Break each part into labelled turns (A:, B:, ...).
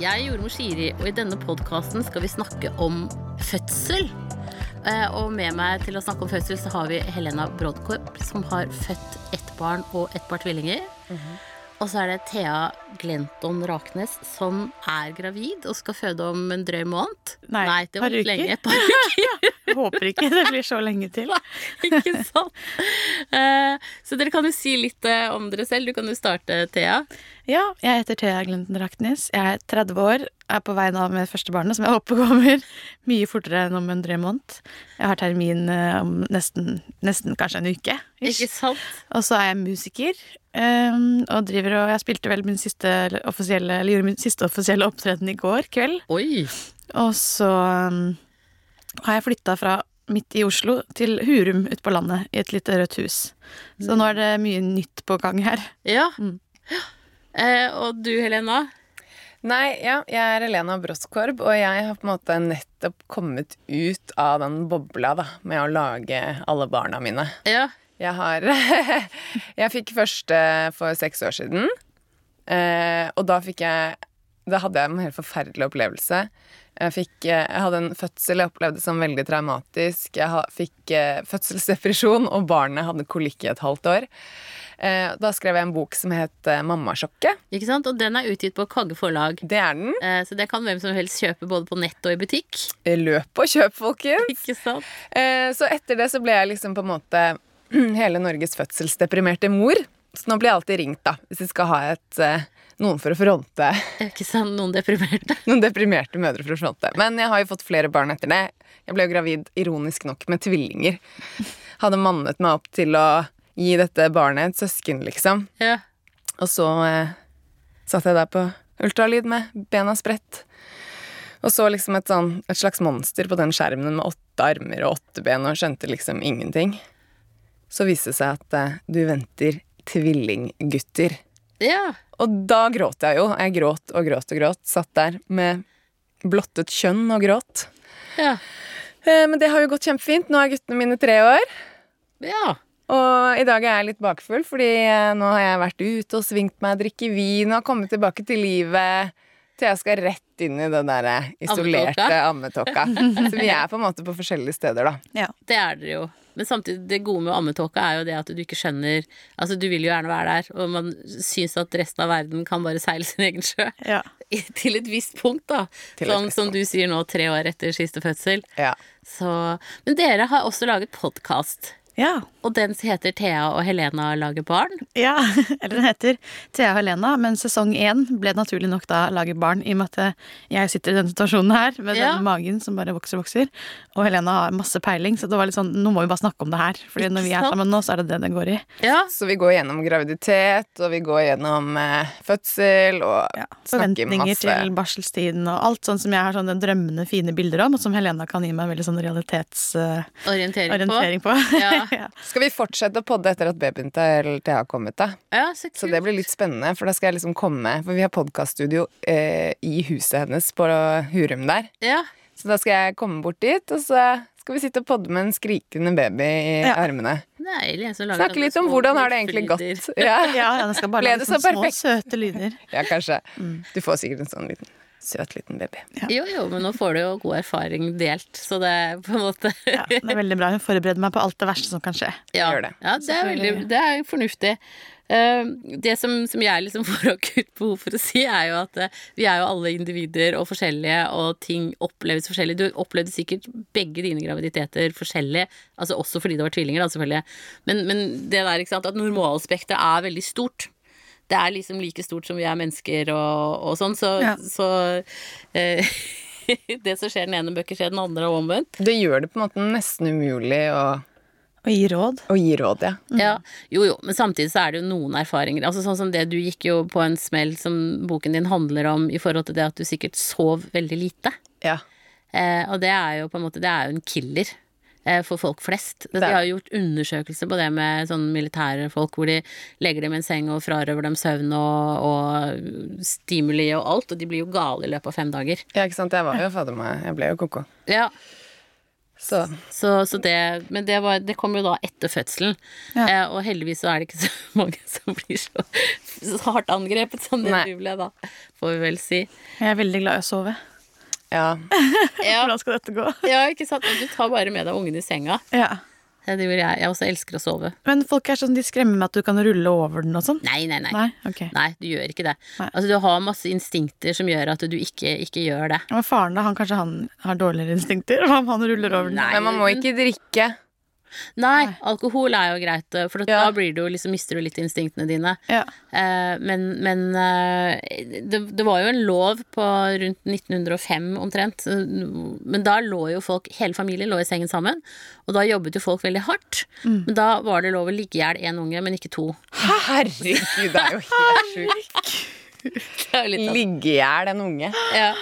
A: Jeg er jordmor Siri, og i denne podkasten skal vi snakke om fødsel. Eh, Og med meg til å snakke om fødsel så har vi Helena Brodkorp, som har født ett barn og ett par tvillinger.
B: Mhm.
A: Og så er det Thea Glenton Raknes, som er gravid og skal føde om en drøy måned.
B: Nei,
A: det var
B: par
A: litt
B: uker.
A: lenge. Et par uker.
B: Jeg håper ikke det blir så lenge til.
A: Ikke sant? Eh, Så dere kan jo si litt eh, om dere selv. Du kan jo starte, Thea.
B: Ja, jeg heter Thea Glenton Raknes. Jeg er 30 år, er på vei da med første barnet, som jeg håper kommer mye fortere enn om en drøy måned. Jeg har termin eh, om nesten, nesten kanskje en uke. ish.
A: Ikke sant?
B: Og så er jeg musiker, eh, og driver og Jeg spilte vel min siste offisielle, eller gjorde min siste offisielle opptreden i går kveld.
A: Oi.
B: Og så um, har jeg flytta fra midt i Oslo til Hurum ute på landet, i et lite rødt hus. Så nå er det mye nytt på gang her.
A: Ja.
B: Mm.
A: Eh, og du, Helena?
C: Nei, ja, jeg er Elena Broskorb, og jeg har på en måte nettopp kommet ut av den bobla da, med å lage alle barna mine.
A: Ja.
C: Jeg har Jeg fikk første for seks år siden, eh, og da fikk jeg Da hadde jeg en helt forferdelig opplevelse. Jeg, fikk, eh, jeg hadde en fødsel jeg opplevde som veldig traumatisk. Jeg ha- fikk eh, fødselsdepresjon, og barnet hadde kolikk i et halvt år. Eh, da skrev jeg en bok som het eh, 'Mammasjokket'.
A: Ikke sant? Og den er utgitt på Kagge forlag.
C: Det er den.
A: Eh, Så det kan hvem som helst kjøpe både på nett og i butikk.
C: Løp og kjøp, folkens!
A: Ikke sant?
C: Eh, Så etter det så ble jeg liksom på en måte hele Norges fødselsdeprimerte mor. Så nå blir jeg alltid ringt, da, hvis jeg skal ha et, eh, noen for å fronte
A: Ikke sant? Noen deprimerte.
C: noen deprimerte mødre for å fronte. Men jeg har jo fått flere barn etter det. Jeg ble jo gravid, ironisk nok, med tvillinger. Hadde mannet meg opp til å gi dette barnet et søsken, liksom.
A: Ja.
C: Og så eh, satt jeg der på ultralyd med bena spredt. Og så liksom et, sånn, et slags monster på den skjermen med åtte armer og åtte ben og skjønte liksom ingenting. Så viste det seg at eh, du venter tvillinggutter.
A: ja.
C: Og da gråt jeg jo. Jeg gråt og gråt og gråt. Satt der med blottet kjønn og gråt.
A: Ja.
C: Eh, Men det har jo gått kjempefint. Nå er guttene mine tre år.
A: Ja.
C: Og i dag er jeg litt bakfull, fordi eh, nå har jeg vært ute og svingt meg, drikke vin og kommet tilbake til livet. Til jeg skal rett inn i det der eh, isolerte ammetåka. Så vi er på en måte på forskjellige steder, da.
A: Det er dere jo. Men samtidig, det gode med ammetåka er jo det at du ikke skjønner Altså, du vil jo gjerne være der, og man syns at resten av verden kan bare seile sin egen sjø.
B: Ja.
A: I- Til et visst punkt, da.
C: Til et
A: Sånn
C: visst
A: som du sier nå, tre år etter siste fødsel.
C: Ja.
A: Så Men dere har også laget podkast.
B: ja.
A: Og den heter Thea og Helena lager barn.
B: ja. Eller den heter Thea og Helena, men sesong én ble naturlig nok da Lage barn, i og med at jeg sitter i den situasjonen her, med
A: Ja.
B: den magen som bare vokser og vokser. Og Helena har masse peiling, så det var litt sånn nå må vi bare snakke om det her. Fordi når vi er
A: sant?
B: sammen nå, så er det det det går i.
A: Ja.
C: Så vi går gjennom graviditet, og vi går gjennom eh, fødsel, og
B: Ja,
C: snakker
B: Forventninger
C: masse.
B: til barselstiden og alt sånn som jeg har sånne drømmende fine bilder om, og som Helena kan gi meg en veldig sånn realitetsorientering
A: Orientering,
B: på.
A: Ja.
B: Ja.
C: Skal vi fortsette å podde etter at babyen til Thea har kommet, da?
A: på. Ja, så kult.
C: Så det blir litt spennende, for da skal jeg liksom komme For vi har podkaststudio eh, i huset hennes på Hurum der.
A: Ja.
C: Så da skal jeg komme bort dit, og så skal vi sitte og podde med en skrikende baby i
B: Ja.
C: armene.
A: Deilig. en som lager
C: Snakke
A: sånne
C: litt om
A: små
C: hvordan har det egentlig
A: ordflyder.
C: gått. Ja,
B: Ja, ja, den skal bare
C: Ble
B: lage
C: det
B: sånne
C: så
B: små,
C: perfekt?
B: søte lyder.
C: ja kanskje. Du får sikkert en sånn liten søt liten baby.
A: Jo, jo, men nå får du jo god erfaring delt, så det er på en måte
B: Ja, det er veldig bra. Hun forbereder meg på alt det verste som kan skje.
A: Ja,
C: Gjør det.
A: ja det, er veldig, det er fornuftig. Eh, Det som, som jeg liksom får akutt behov for å si, er jo at eh, vi er jo alle individer og forskjellige, og ting oppleves forskjellig. Du opplevde sikkert begge dine graviditeter forskjellig, altså også fordi det var tvillinger, da, selvfølgelig. Men, men det der, ikke sant, at normalspekteret er veldig stort. Det er liksom like stort som vi er mennesker og, og sånn, så,
B: Ja.
A: så eh, Det som skjer den ene bøker, skjer den andre, og omvendt.
C: Det gjør det på en måte nesten umulig å,
B: Og gi råd.
C: å gi råd, ja.
A: Ja, jo jo, men samtidig så er det jo noen erfaringer. Altså Sånn som det, du gikk jo på en smell som boken din handler om i forhold til det at du sikkert sov veldig lite.
C: ja.
A: Eh, og det er jo på en måte, det er jo en killer eh, for folk flest. De
C: Det er-
A: har jo gjort undersøkelser på det med sånne militære folk, hvor de legger dem i en seng og frarøver dem søvn og, og stimuli og alt, og de blir jo gale i løpet av fem dager.
C: Ja, ikke sant. Jeg var jo fader meg Jeg ble jo ko-ko.
A: Ja,
C: Så
A: Så, så det, men det, var, det kom jo da etter fødselen.
B: Ja.
A: Eh, og heldigvis så er det ikke så mange som blir så, så hardt angrepet som det
C: Nei.
A: du ble, da. Får vi vel si.
B: Jeg er veldig glad i å sove.
C: ja.
A: Ja,
B: Hvordan skal dette gå?
A: ja ikke sant. Du tar bare med deg ungen i senga.
B: Ja.
A: Det gjør jeg. Jeg også elsker å sove.
B: Men folk er sånn, de skremmer med at du kan rulle over den og sånn.
A: Nei, nei, nei.
B: Nei? Ok.
A: Nei, du gjør ikke det.
B: Nei.
A: Altså, du har masse instinkter som gjør at du ikke, ikke gjør det.
B: Men faren da, han kanskje han har dårligere instinkter? Hva om han ruller over den?
A: Nei.
C: Men man må ikke drikke.
A: Nei, alkohol er jo greit, eh, for
C: Ja.
A: da blir du, jo liksom, mister du litt instinktene dine.
B: Ja.
A: Eh, men men eh, det, det var jo en lov på rundt 1905 omtrent. eh, Men da lå jo folk, hele familien lå i sengen sammen. Og da jobbet jo folk veldig hardt. Men da var det lov å ligge i hjel én unge, men ikke to.
C: Herregud, det er jo helt sjukt. Ligge i hjel en unge.
A: Ja.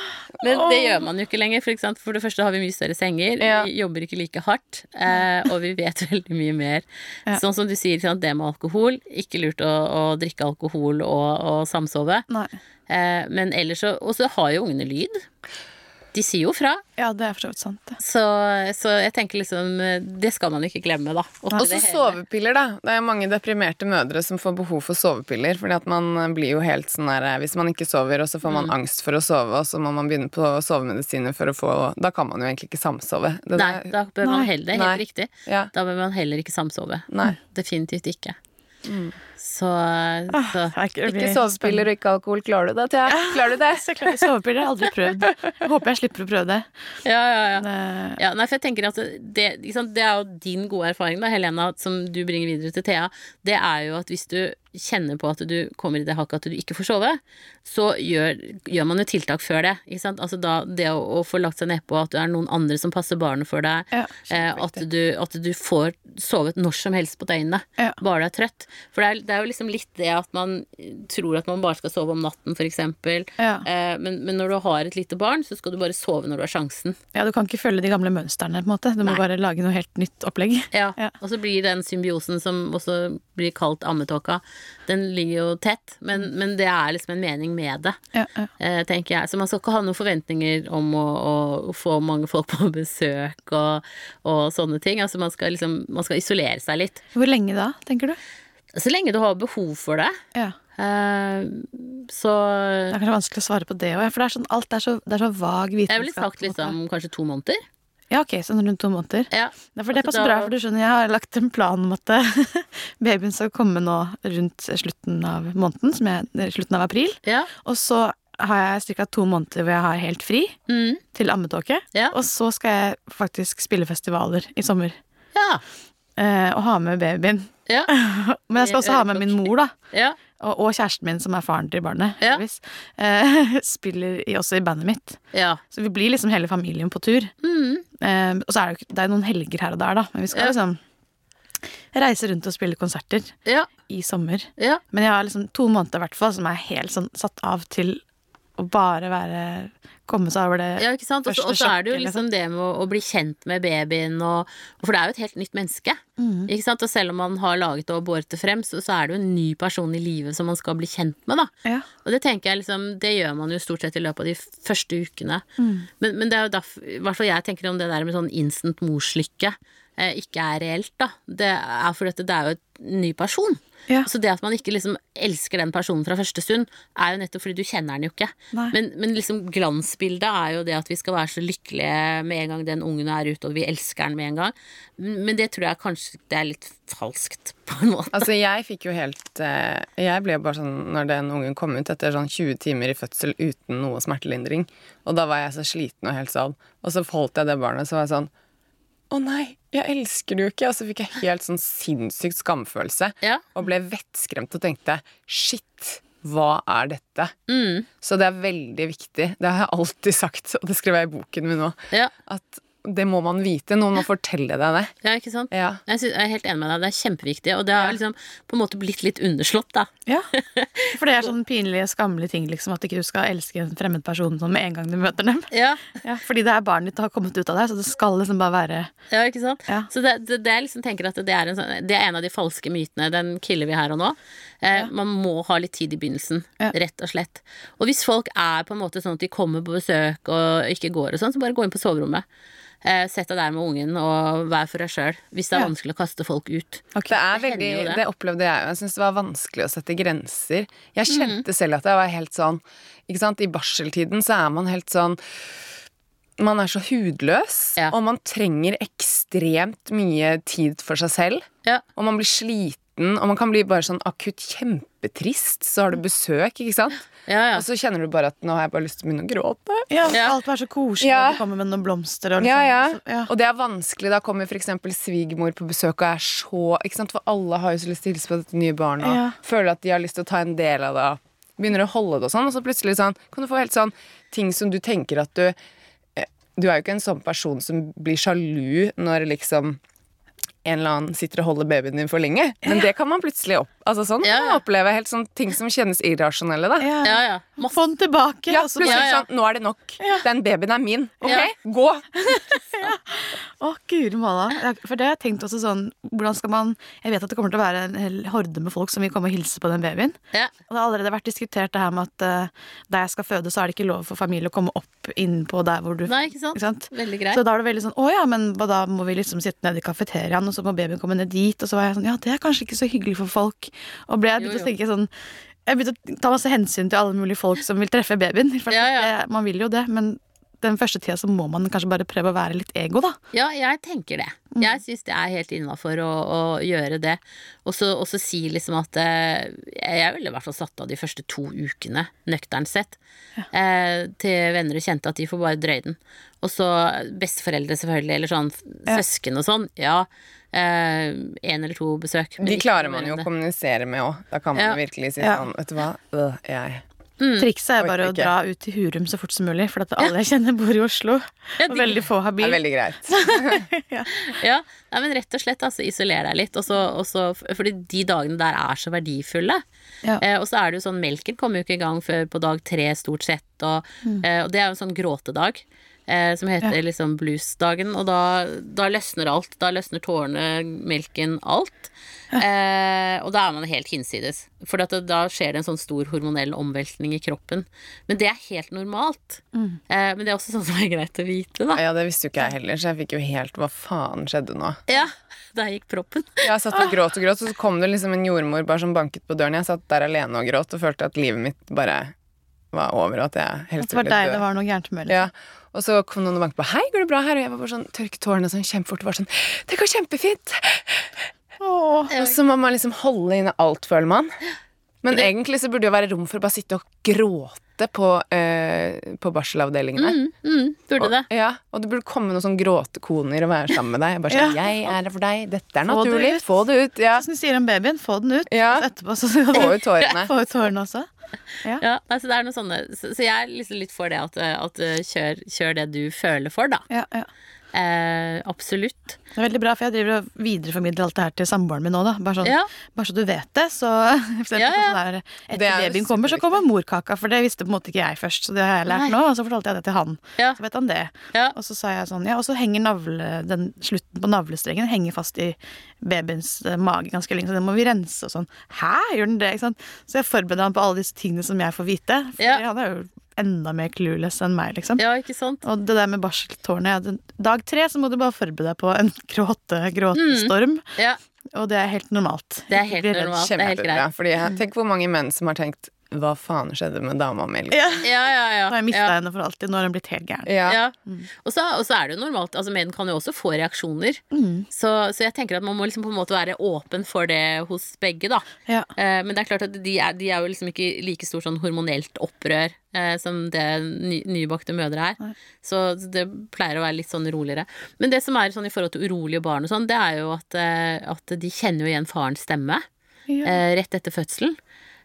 A: Men det gjør man jo ikke lenger. For, ikke sant? for det første har vi mye større senger,
C: Ja.
A: vi jobber ikke like hardt, eh, og vi vet veldig mye mer.
B: Ja.
A: Sånn som du sier, ikke sant? det med alkohol. Ikke lurt å, å drikke alkohol og, og samsove.
B: Nei.
A: Eh, men ellers så Og så har jo ungene lyd. De sier jo fra.
B: Ja, det er for så vidt sant. det.
A: Så, så jeg tenker liksom eh, Det skal man ikke glemme, da. Oppi
C: Og
A: det
C: så
A: hele.
C: sovepiller, da. Det er mange deprimerte mødre som får behov for sovepiller. Fordi at man eh, blir jo helt sånn der eh, Hvis man ikke sover, og så får man angst for å sove, og så må man begynne på sovemedisiner for å få Da kan man jo egentlig ikke samsove. Det
A: Nei,
C: der-
A: da bør man
B: Nei.
A: heller, det er
C: Nei.
A: helt riktig.
C: Ja.
A: Da bør man heller ikke samsove.
C: Nei. Mm.
A: Definitivt ikke. Så,
B: Ah,
A: så
B: det er ikke,
C: Ikke sovepiller og ikke alkohol. Klarer du det, Thea? Klarer du det?
B: Så klart, sovepiller har jeg aldri prøvd. Jeg håper jeg slipper å prøve det.
A: Ja, ja, ja.
B: Men, eh,
A: Ja, nei, for jeg tenker at det, ikke sant, det er jo din gode erfaring, da, Helena, som du bringer videre til Thea. Det er jo at hvis du kjenner på at du kommer i det hakket at du ikke får sove, så gjør, gjør man jo tiltak før det. Ikke sant? Altså da, det å, å få lagt seg nedpå, at det er noen andre som passer barnet for deg,
B: Ja,
A: eh, at, du, at du får sovet når som helst på døgnet,
B: Ja.
A: bare du er trøtt. For det er, det er jo liksom litt det at man tror at man bare skal sove om natten, for eksempel.
B: Ja.
A: Eh, men, men når du har et lite barn, så skal du bare sove når du har sjansen.
B: ja, du kan ikke følge de gamle mønstrene, på en måte. Du må
A: Nei.
B: bare lage noe helt nytt opplegg.
A: Ja,
B: Ja.
A: og så blir den symbiosen som også blir kalt ammetåka, den ligger jo tett, men, men det er liksom en mening med det,
B: Ja, ja.
A: eh, tenker jeg. Så man skal ikke ha noen forventninger om å, å få mange folk på besøk og, og sånne ting. Altså man skal liksom, man skal isolere seg litt.
B: Hvor lenge da, tenker du?
A: Så lenge du har behov for det,
B: Ja.
A: eh, så
B: Det er kanskje vanskelig å svare på det òg, for det er sånn, alt er så, det er så vag vitenskap.
A: jeg ville sagt
B: på en måte.
A: liksom kanskje to måneder.
B: Ja, ok, sånn rundt to måneder.
A: Ja.
B: Ja, for det
A: Altså,
B: passer
A: da-
B: bra, for du skjønner, jeg har lagt en plan om at eh, babyen skal komme nå rundt slutten av måneden, som er eh, slutten av april.
A: Ja.
B: Og så har jeg ca. to måneder hvor jeg har helt fri
A: Mm,
B: til ammetåke.
A: ja.
B: Og så skal jeg faktisk spille festivaler i sommer.
A: ja.
B: eh, og ha med babyen.
A: Ja.
B: Men jeg skal også ha med min mor, da.
A: Ja.
B: Og, og kjæresten min, som er faren til barnet.
A: Ja.
B: heldigvis, eh, spiller i, også i bandet mitt.
A: Ja.
B: Så vi blir liksom hele familien på tur.
A: Mm,
B: Eh, og så er det jo ikke- det er jo noen helger her og der, da. Men vi skal
A: Ja.
B: liksom reise rundt og spille konserter
A: ja.
B: i sommer.
A: Ja.
B: Men jeg har liksom to måneder i hvert fall som er helt sånn satt av til å bare være Komme seg over det.
A: Ja, eh, ikke sant? Og så-
B: Første
A: Og så er det jo
B: sjokket,
A: liksom det med å, å bli kjent med babyen, og, og for det er jo et helt nytt menneske. Ikke sant? Og selv om man har laget og båret det frem, så, så er det jo en ny person i livet som man skal bli kjent med, da.
B: Ja.
A: Og det tenker jeg liksom, det gjør man jo stort sett i løpet av de første ukene.
B: Mm.
A: Men, men det er jo derfor, i hvert fall jeg tenker om det der med sånn instant morslykke eh, ikke er reelt, da. Det er fordi at det er jo en ny person.
B: Ja.
A: Så det at man ikke liksom elsker den personen fra første stund, er jo nettopp fordi du kjenner den jo ikke.
B: Nei.
A: Men, men liksom glansbildet er jo det at vi skal være så lykkelige med en gang den ungen er ute, og vi elsker den med en gang. Men det tror jeg kanskje det er litt falskt, på en måte.
C: Altså, jeg fikk jo helt eh, Jeg ble jo bare sånn når den ungen kom ut, etter sånn 20 timer i fødsel uten noe smertelindring. Og da var jeg så sliten og helt sånn. Og så holdt jeg det barnet, og så var jeg sånn Å nei, jeg elsker det jo ikke! Og så fikk jeg helt sånn sinnssykt skamfølelse.
A: Ja.
C: Og ble vettskremt og tenkte Shit, hva er dette?
A: Mm.
C: Så det er veldig viktig. Det har jeg alltid sagt, og det skrev jeg i boken min nå.
A: Ja,
C: At det må man vite. Noen må fortelle deg det.
A: ja ikke sant?
C: Ja.
A: Jeg, synes, jeg er helt enig med deg, det er kjempeviktig, og det har liksom på en måte blitt litt underslått, da.
B: Ja. For det er sånn pinlige, skammelige ting, liksom, at ikke du skal elske en fremmed person sånn med en gang du møter dem.
A: Ja,
B: Ja, fordi det er barnet ditt har kommet ut av deg, så det skal liksom bare være
A: ja ikke sant?
B: Ja.
A: Så det, det, det jeg liksom tenker at det er, en sånn, det er en av de falske mytene, den killer vi her og nå. Eh, Man må ha litt tid i begynnelsen,
B: Ja.
A: rett og slett. Og hvis folk er på en måte sånn at de kommer på besøk og ikke går og sånn, så bare gå inn på soverommet. Eh, Sett deg der med ungen og vær for deg sjøl hvis det er
B: Ja.
A: vanskelig å kaste folk ut.
B: Ok.
A: Det
C: Det, er
A: hender
C: veldig,
A: jo det.
C: det. opplevde jeg jo. Jeg syns det var vanskelig å sette grenser. Jeg
A: Mhm.
C: kjente selv at jeg var helt sånn ikke sant? I barseltiden så er man helt sånn Man er så hudløs,
A: Ja.
C: og man trenger ekstremt mye tid for seg selv.
A: Ja.
C: Og man blir sliten, og man kan bli bare sånn akutt kjempetrist. Så har du besøk, ikke sant.
A: Ja, Mm. ja.
C: Og så kjenner du bare at nå har jeg bare lyst til å begynne å gråte.
B: Ja,
A: Ja.
B: Alt var så koselig,
C: Ja.
B: og du kommer med noen blomster og
C: Ja,
B: liksom.
C: ja.
B: Så, ja.
C: Og det er vanskelig. Da kommer f.eks. svigermor på besøk og er så ikke sant? For alle har jo så lyst til å hilse på dette nye barnet og
B: Ja.
C: føler at de har lyst til å ta en del av det. og Begynner å holde det og sånn, og så plutselig sånn, kan du få helt sånn ting som du tenker at du eh, Du er jo ikke en sånn person som blir sjalu når liksom en eller annen sitter og holder babyen din for lenge. Men det kan man plutselig opp, altså sånn,
A: Ja,
C: kan
A: ja.
C: man oppleve. Helt sånn ting som kjennes irrasjonelle, da.
B: Ja.
A: ja, ja. Masse
B: Få den tilbake.
C: Ja,
B: og så
C: plutselig
A: Ja, ja.
C: sånn Nå er det nok. Den babyen er min. Ok,
A: Ja.
C: gå!
B: Å, guri malla. Ja, For det har jeg tenkt også sånn Hvordan skal man Jeg vet at det kommer til å være en hel horde med folk som vil komme og hilse på den babyen.
A: Ja.
B: Og det har allerede vært diskutert det her med at eh, der jeg skal føde, så er det ikke lov for familie å komme opp inn på der hvor du
A: Nei, ikke sant?
B: Ikke sant?
A: Veldig
B: Så
A: greit.
B: da er det veldig sånn Å ja, men hva da må vi liksom sitte nede i kafeteriaen, og så må babyen komme ned dit, og så var jeg sånn Ja, det er kanskje ikke så hyggelig for folk. Og ble jeg
A: Jo,
B: begynte
A: jo.
B: å tenke sånn Jeg begynte å ta masse hensyn til alle mulige folk som vil treffe babyen. For
A: Ja, ja.
B: Det, man vil jo det, men den første tida så må man kanskje bare prøve å være litt ego, da.
A: Ja, jeg tenker det.
C: Mm.
A: Jeg syns det er helt innafor å, å gjøre det. Og så og så si liksom at eh, Jeg ville i hvert fall satt av de første to ukene, nøkternt sett, eh, til venner og kjente at de får bare drøye den. Og så eh, besteforeldre, selvfølgelig, eller sånn søsken og sånn. Ja. Én eller to besøk. men
C: De
A: ikke
C: klarer
A: mer
C: man
A: enn
C: jo å
A: det.
C: kommunisere med òg. Da kan man
A: Ja.
C: jo virkelig si
B: Ja.
C: sånn Vet du hva, øh, jeg
A: Mm.
B: Trikset er
C: Orker
B: bare å
C: ikke.
B: dra ut til Hurum så fort som mulig, for at alle jeg kjenner bor i Oslo.
A: Ja,
B: Og
A: de-
B: veldig få har
C: Det er
B: bil.
C: veldig greit.
A: Ja, nei, men rett og slett altså, isoler deg litt. Og så, og så, fordi de dagene der er så verdifulle.
B: Ja.
A: Eh, og så er det jo sånn, melken kommer jo ikke i gang før på dag tre stort sett. Og, eh, og det er jo en sånn gråtedag. Eh, som heter
B: Ja.
A: liksom bluesdagen, og da, da løsner alt. Da løsner tårene, melken, alt. Eh, og da er man helt hinsides. For at det, da skjer det en sånn stor hormonell omveltning i kroppen. Men det er helt normalt. Eh, men det er også sånn som er greit å vite, da.
C: Ja, det visste jo ikke jeg heller, så jeg fikk jo helt Hva faen skjedde nå?
A: Ja, der gikk proppen.
C: Jeg satt og gråt og gråt, og så kom det liksom en jordmor bare som banket på døren. Jeg satt der alene og gråt og følte at livet mitt bare var over, og at jeg helst
B: Det var
C: ville
B: deg det
C: dø.
B: var noe gærent med.
C: Ja. Og så kom noen og banket på. 'Hei, går det bra her?' Og jeg var bare sånn tørket tårene sånn kjempefort. og Var sånn 'Det går kjempefint!'
B: Åh.
C: Og så må man liksom holde inne alt, føler man. Men egentlig så burde det jo være rom for å bare sitte og gråte på, eh, på barselavdelingene.
A: Mm, mm, burde det.
C: Og, ja, og det burde komme noen sånn gråtekoner og være sammen med deg. Bare sånn, jeg er her for deg, dette er
B: Få det
C: naturlig,
B: ut.
C: få det ut. Ja.
B: Som du sier om babyen, få den ut.
C: Ja.
B: og så Etterpå så skal du
C: Få ut tårene.
B: få ut tårene også.
A: Ja, nei, så, det er noe sånne, så, så jeg er liksom litt for det at, eh, at eh, kjør, kjør det du føler for, da.
B: Ja, ja.
A: Eh, absolutt.
B: Det er veldig bra, for jeg driver og videreformidler alt det her til samboeren min nå. Da. Bare, sånn,
A: Ja.
B: bare så du vet det. Så for eksempel,
A: Ja, ja.
B: sånn der, etter
C: Det er jo
B: babyen kommer, så kommer morkaka. For det visste på en måte ikke jeg først, så det har jeg lært
A: Nei.
B: nå. Og så fortalte jeg det til han.
A: Ja.
B: Så vet han det.
A: Ja.
B: Og så sa jeg sånn, ja, og så henger navle, den slutten på navlestrengen henger fast i babyens eh, mage ganske lenge, så den må vi rense og sånn. Hæ, gjør den det? Ikke sant? Så jeg forbereder han på alle disse tingene som jeg får vite. For
A: Ja.
B: han er jo enda mer clueless enn meg, liksom.
A: Ja, ikke sant?
B: Og det der med barseltårnet ja, den- Dag tre så må du bare forberede deg på en gråte, gråtestorm.
A: Ja,
B: Og det er helt
A: Mm.
B: normalt.
A: det er
B: Ikke
A: helt
B: bli redd.
A: normalt. Det er helt
C: Kjempebra.
A: greit.
C: Fordi jeg, tenk hvor mange menn som har tenkt, hva faen skjedde med dama mi?
B: Ja.
A: Ja, ja, ja.
B: Nå har jeg Mm. mista
A: ja.
B: henne for alltid. Nå har hun blitt helt gæren.
C: Ja.
A: Ja. Og, så, og så er det jo normalt altså Menn kan jo også få reaksjoner.
B: Mm.
A: Så, så jeg tenker at man må liksom på en måte være åpen for det hos begge. da
B: Ja.
A: Eh, Men det er klart at de er, de er jo liksom ikke like stort sånn hormonelt opprør eh, som det ny, nybakte mødre er. Så det pleier å være litt sånn roligere. Men det som er sånn i forhold til urolige barn og sånn, det er jo at, eh, at de kjenner jo igjen farens stemme
B: Ja.
A: eh, rett etter fødselen.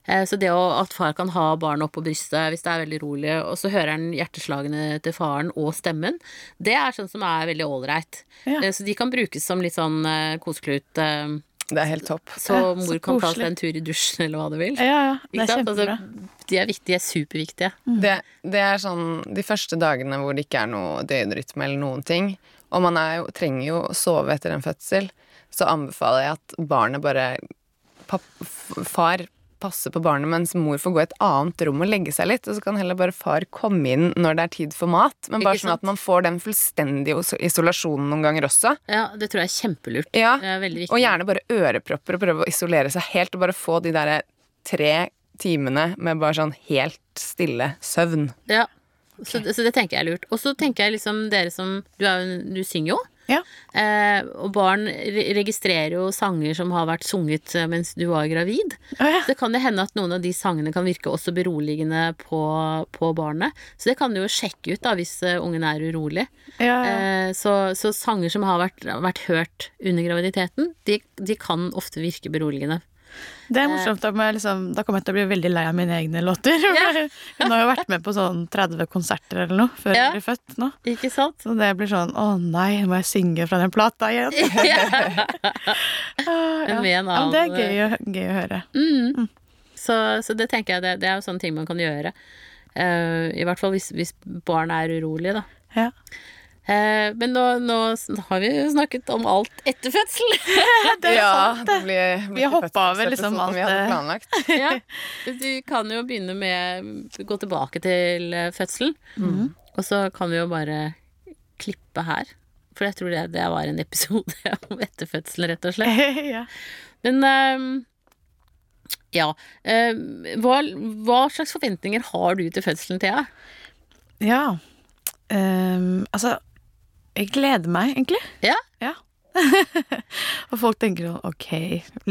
A: Eh, Så det å, at far kan ha barnet oppå brystet hvis det er veldig rolig, og så hører han hjerteslagene til faren og stemmen, det er sånn som er veldig ålreit.
B: Ja.
A: Eh, Så de kan brukes som litt sånn eh, koseklut, eh,
C: Det er helt topp.
A: så
B: Ja, så
A: mor kan ta
B: koselig.
A: seg en tur i dusjen eller hva du vil.
B: Ja, ja. Det
A: Ikke
B: er
A: sant?
B: kjempebra. Mm.
A: Altså, de er viktige, de er superviktige.
C: Det, det er sånn de første dagene hvor det ikke er noe døgnrytme eller noen ting, og man er jo, trenger jo å sove etter en fødsel, så anbefaler jeg at barnet bare papp, f- Far passe på barnet mens mor får gå i et annet rom og legge seg litt, og så kan heller bare far komme inn når det er tid for mat. Men bare
A: Ikke
C: sånn
A: sant?
C: at man får den fullstendige iso- isolasjonen noen ganger også.
A: Ja, det tror jeg er kjempelurt.
C: Ja,
A: Det er veldig viktig.
C: Og gjerne bare ørepropper og prøve å isolere seg helt, og bare få de derre tre timene med bare sånn helt stille søvn.
A: Ja. Så, så det tenker jeg er lurt. Og så tenker jeg liksom dere som Du, er, jo en- du synger jo.
B: Ja.
A: Eh, og barn re registrerer jo sanger som har vært sunget eh, mens du var gravid.
B: Å ja.
A: Så det kan jo hende at noen av de sangene kan virke også beroligende på, på barnet. Så det kan du jo sjekke ut da hvis eh, ungen er urolig.
B: Ja, ja.
A: Eh, så, så sanger som har vært, vært hørt under graviditeten, de, de kan ofte virke beroligende.
B: Det
A: Eh.
B: er morsomt. Da, må jeg liksom, da kommer jeg til å bli veldig lei av mine egne låter. Hun har jo vært med på sånn 30 konserter eller noe før
A: Ja.
B: hun ble født nå.
A: Ikke sant?
B: Så det blir sånn Å nei, må jeg synge fra den plata igjen?
A: Ja.
B: Ah, ja.
A: Med en
B: Ja, men det
A: annen- eh.
B: er gøy, å- gøy å høre.
A: Så, så det tenker jeg det, det er jo sånne ting man kan gjøre. Eh, I hvert fall hvis, hvis barn er urolige, da.
B: Ja.
A: Eh, men nå, nå sn- har vi jo snakket om alt etter fødsel.
C: ja, det blir, blir
B: Vi har
C: ikke
B: hoppet over
C: fødselsepisoden
B: liksom alt
C: vi hadde
B: det-
C: planlagt.
A: ja. Du kan jo begynne med Gå tilbake til eh, fødselen. Og så kan vi jo bare klippe her. For jeg tror det, det var en episode om etterfødsel, rett og slett.
B: ja.
A: Men ehm, ja. eh, hva, hva slags forventninger har du til fødselen, Thea?
B: ja. Ehm, altså, jeg gleder meg egentlig.
A: Ja.
B: Og folk tenker jo ok,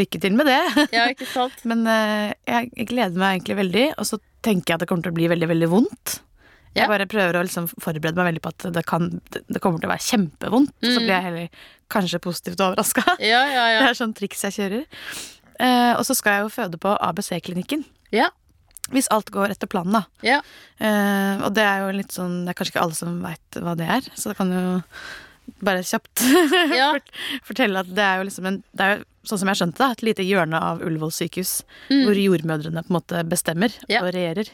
B: lykke til med det.
A: Ja, ikke sant?
B: Men eh, jeg, jeg gleder meg egentlig veldig, og så tenker jeg at det kommer til å bli veldig, veldig vondt.
A: Ja.
B: Jeg bare prøver å liksom forberede meg veldig på at det, kan, det det kommer til å være kjempevondt. Og så blir jeg heller kanskje positivt overraska.
A: Mm. Ja, ja,
B: Det
A: ja.
B: er sånn triks jeg kjører. Eh, og så skal jeg jo føde på ABC-klinikken.
A: Ja,
B: Hvis alt går etter planen, da.
A: ja.
B: Eh, og det er jo litt sånn Det er kanskje ikke alle som veit hva det er, så det kan jo bare kjapt
A: Ja.
B: fort- fortelle at det er jo liksom en Det er jo, sånn som jeg skjønte det, et lite hjørne av Ullevål sykehus hvor jordmødrene på en måte bestemmer
A: Mm. Ja.
B: og regjerer.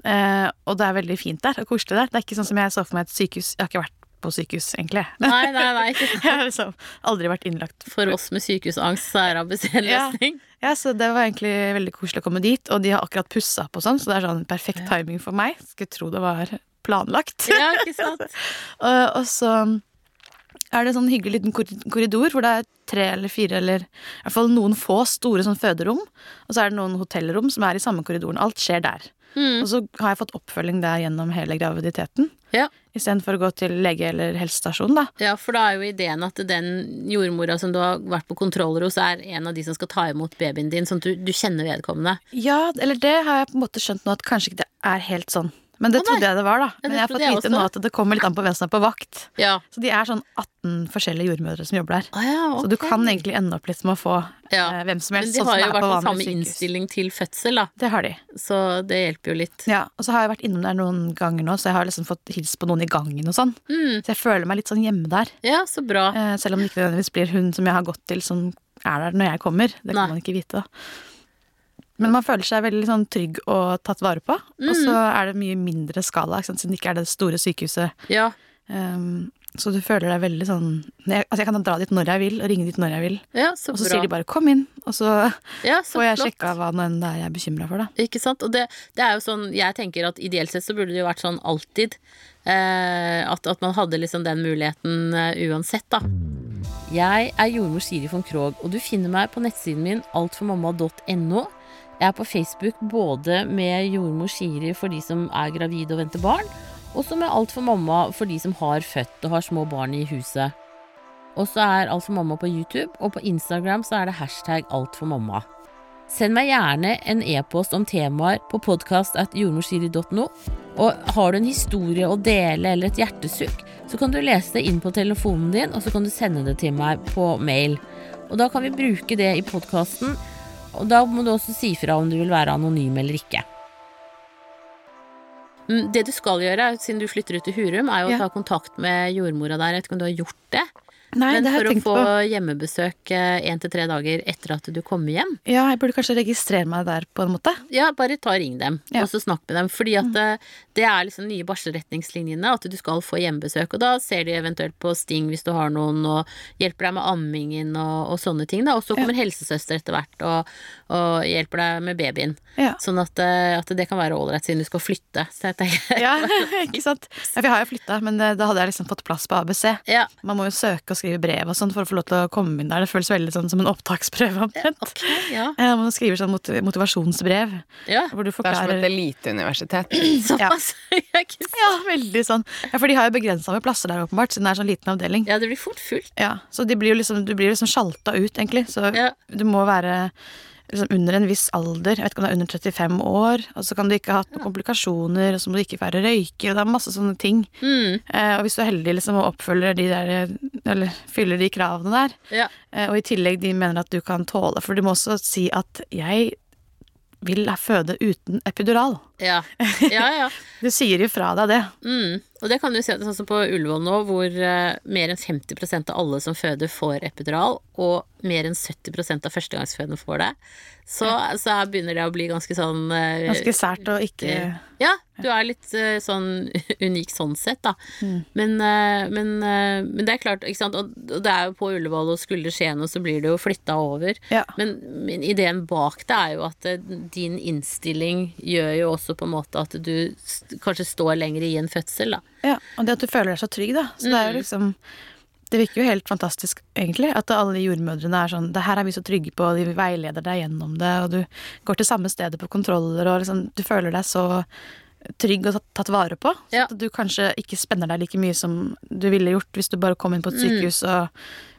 B: Eh, og det er veldig fint der og koselig der. Det er ikke sånn som jeg så for meg et sykehus Jeg har ikke vært på sykehus, egentlig.
A: Nei, nei, nei. Ikke sant.
B: Jeg har liksom aldri vært innlagt
A: For oss med sykehusangst så er ABC en
B: Ja.
A: løsning.
B: Ja, så Det var egentlig veldig koselig å komme dit, og de har akkurat pussa opp, og sånn, så det er sånn perfekt timing for meg. Skulle tro det var planlagt.
A: Ja, ikke sant?
B: Eh, og, og så er det en sånn hyggelig liten korri- korridor hvor det er tre eller fire eller i hvert fall noen få store sånn føderom, og så er det noen hotellrom som er i samme korridoren. Alt skjer der.
A: Mm.
B: Og så har jeg fått oppfølging der gjennom hele graviditeten.
A: Ja.
B: Istedenfor å gå til lege eller helsestasjon, da.
A: Ja, for da er jo ideen at den jordmora som du har vært på kontroller hos, er en av de som skal ta imot babyen din, sånn at du, du kjenner vedkommende.
B: Ja, eller det har jeg på en måte skjønt nå at kanskje ikke det er helt sånn. Men det
A: Å, nei.
B: trodde jeg det var, da.
A: det
B: Men jeg har
A: trodde
B: fått
A: jeg
B: vite
A: også.
B: nå at det kommer litt an på hvem som er på vakt.
A: Ja.
B: Så de er sånn 18 forskjellige jordmødre som jobber der.
A: Ah, ja
B: Så du kan egentlig ende opp litt med å få
A: Ja.
B: eh, hvem som
A: Men
B: helst,
A: de
B: sånn
A: har
B: som
A: jo i
B: er
A: hvert
B: på
A: fall samme
B: vanlig sykehus.
A: innstilling til fødsel, da,
B: Det har de.
A: så det hjelper jo litt.
B: Ja, Og så har jeg vært innom der noen ganger nå, så jeg har liksom fått hils på noen i gangen og sånn.
A: Mm.
B: Så jeg føler meg litt sånn hjemme der.
A: Ja, så bra.
B: Eh, selv om det ikke nødvendigvis blir hun som jeg har gått til, som er der når jeg kommer. Det kan
A: Nei.
B: man ikke vite, da. Men man føler seg veldig sånn trygg og tatt vare på. Og så
A: Mm.
B: er det mye mindre skala, ikke sant? siden det ikke er det store sykehuset.
A: Ja,
B: Um, så du føler deg veldig sånn jeg, Altså, jeg kan dra dit når jeg vil, og ringe dit når jeg vil.
A: ja så
B: Og
A: bra.
B: så sier de bare 'kom inn', og så
A: ja, så
B: får jeg
A: flott.
B: sjekka hva nå enn det er jeg er bekymra for, da.
A: Ikke sant? Og det, det er jo sånn, jeg tenker at ideelt sett så burde det jo vært sånn alltid. Eh, at, at man hadde liksom den muligheten eh, uansett, da. Jeg er jordmor Siri von Krogh, og du finner meg på nettsiden min altformamma.no. Jeg er på Facebook både med jordmor Siri for de som er gravide og venter barn, og så med Alt for mamma for de som har født og har små barn i huset. Og så er Alt for mamma på YouTube, og på Instagram så er det hashtag alt for mamma. Send meg gjerne en e-post om temaer på podkast.jordmorsiri.no. Og har du en historie å dele eller et hjertesukk, så kan du lese det inn på telefonen din, og så kan du sende det til meg på mail. Og da kan vi bruke det i podkasten. Og da må du også si fra om du vil være anonym eller ikke. Mm, Det du skal gjøre, er, siden du flytter ut til Hurum, er jo
B: Ja.
A: å ta kontakt med jordmora der. Jeg vet ikke om du har gjort det.
B: Nei,
A: Men
B: det har
A: for
B: jeg
A: å
B: tenkt
A: få
B: på.
A: hjemmebesøk én til tre dager etter at du kommer hjem,
B: Ja, jeg burde kanskje registrere meg der på en måte.
A: ja, bare ta og ring dem,
B: Ja.
A: og så snakk med dem. Fordi at eh, det er liksom nye barselretningslinjene, at du skal få hjemmebesøk. Og da ser de eventuelt på sting hvis du har noen, og hjelper deg med ammingen og, og sånne ting. Da. Og så kommer helsesøster etter hvert og, og hjelper deg med babyen.
B: Ja.
A: Sånn at, eh, at det kan være ålreit siden du skal flytte. Så jeg tenker,
B: Ja, ikke sant? Ja, vi har jo flytta, men eh, da hadde jeg liksom fått plass på ABC.
A: ja,
B: Man må jo søke og skrive brev og sånn for å få lov til å komme inn der. Det føles veldig sånn som en opptaksprøve omtrent.
A: ok, ja.
B: Eh, Man skriver sånn mot- motivasjonsbrev
A: ja.
B: hvor du
C: Det er som
B: forklarer
C: et eliteuniversitet.
A: Såpass. Jeg er ikke s-
B: Ja, veldig sånn. Ja, for de har jo begrensa med plasser der, åpenbart, siden det er sånn liten avdeling.
A: Ja, det blir fort fullt.
B: Ja, så de blir jo liksom, du blir liksom sjalta ut, egentlig. Så
A: Ja.
B: du må være liksom under en viss alder. Jeg vet ikke om det er under 35 år. Og så kan du ikke ha hatt noen komplikasjoner, og så må du ikke være røyker. Og det er masse sånne ting.
A: Mm,
B: Eh, og hvis du er heldig liksom, og oppfølger de der, eller fyller de kravene der,
A: ja.
B: eh, og i tillegg de mener at du kan tåle For du må også si at 'jeg vil føde uten epidural'.
A: Ja, ja. ja.
B: Du sier ifra deg det.
A: Mm. Og det kan du se sånn som på Ullevål nå, hvor eh, mer enn 50 av alle som føder, får epidural, og mer enn 70 av førstegangsfødende får det. Så, så her begynner det å bli ganske sånn eh,
B: Ganske sært og ikke
A: eh, Ja, du er litt eh, sånn unik sånn sett, da.
B: Mm.
A: Men, eh, men, eh, men det er klart, ikke sant, og, og det er jo på Ullevål, og skulle det skje noe, så blir det jo flytta over.
B: Ja.
A: Men, men ideen bak det er jo at eh, din innstilling gjør jo også på en måte at du s- kanskje står lenger i en fødsel, da.
B: Ja, og det at du føler deg så trygg, da. Så det er jo liksom Det virker jo helt fantastisk, egentlig, at alle jordmødrene er sånn Det her er vi så trygge på, og de veileder deg gjennom det, og du går til samme stedet på kontroller, og liksom Du føler deg så trygg og tatt- tatt vare på. Så
A: Ja.
B: at du kanskje ikke spenner deg like mye som du ville gjort hvis du bare kom inn på et sykehus og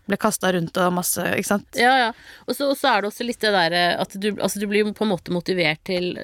B: ble kasta rundt og masse Ikke sant?
A: Ja, ja. Og så og så er det også litt det der eh, at du, altså du blir jo på en måte motivert til,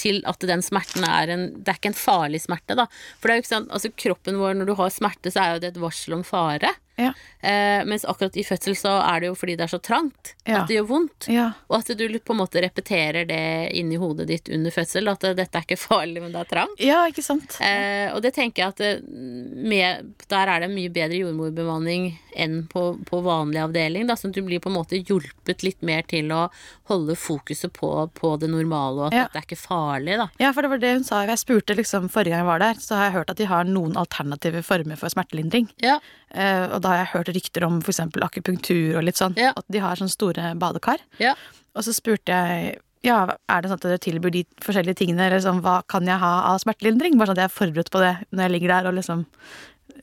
A: til at den smerten er en Det er ikke en farlig smerte, da. For det er jo ikke sant, altså kroppen vår når du har smerte, så er jo det et varsel om fare.
B: Ja.
A: Eh, mens akkurat i fødsel så er det jo fordi det er så trangt
B: Ja.
A: at det gjør vondt.
B: Ja.
A: Og at du på en måte repeterer det inni hodet ditt under fødsel, at eh, dette er ikke farlig, men det er trangt.
B: ja, ikke sant?
A: Eh, og det tenker jeg at eh, med, der er det mye bedre jordmorbemanning enn på, på vanlig avdeling. Da, sånn at du blir på en måte hjulpet litt mer til å holde fokuset på, på det normale, og at
B: Ja.
A: dette er ikke farlig, da.
B: Ja, for det var det hun sa. Jeg spurte liksom forrige gang jeg var der, så har jeg hørt at de har noen alternative former for smertelindring.
A: Ja,
B: Eh, og da har jeg hørt rykter om f.eks. akupunktur og litt sånn.
A: Ja.
B: At de har sånne store badekar.
A: ja,
B: Og så spurte jeg ja, er det sånn at dere tilbyr de forskjellige tingene, eller sånn, hva kan jeg ha av smertelindring? Bare sånn at jeg er forberedt på det når jeg ligger der og liksom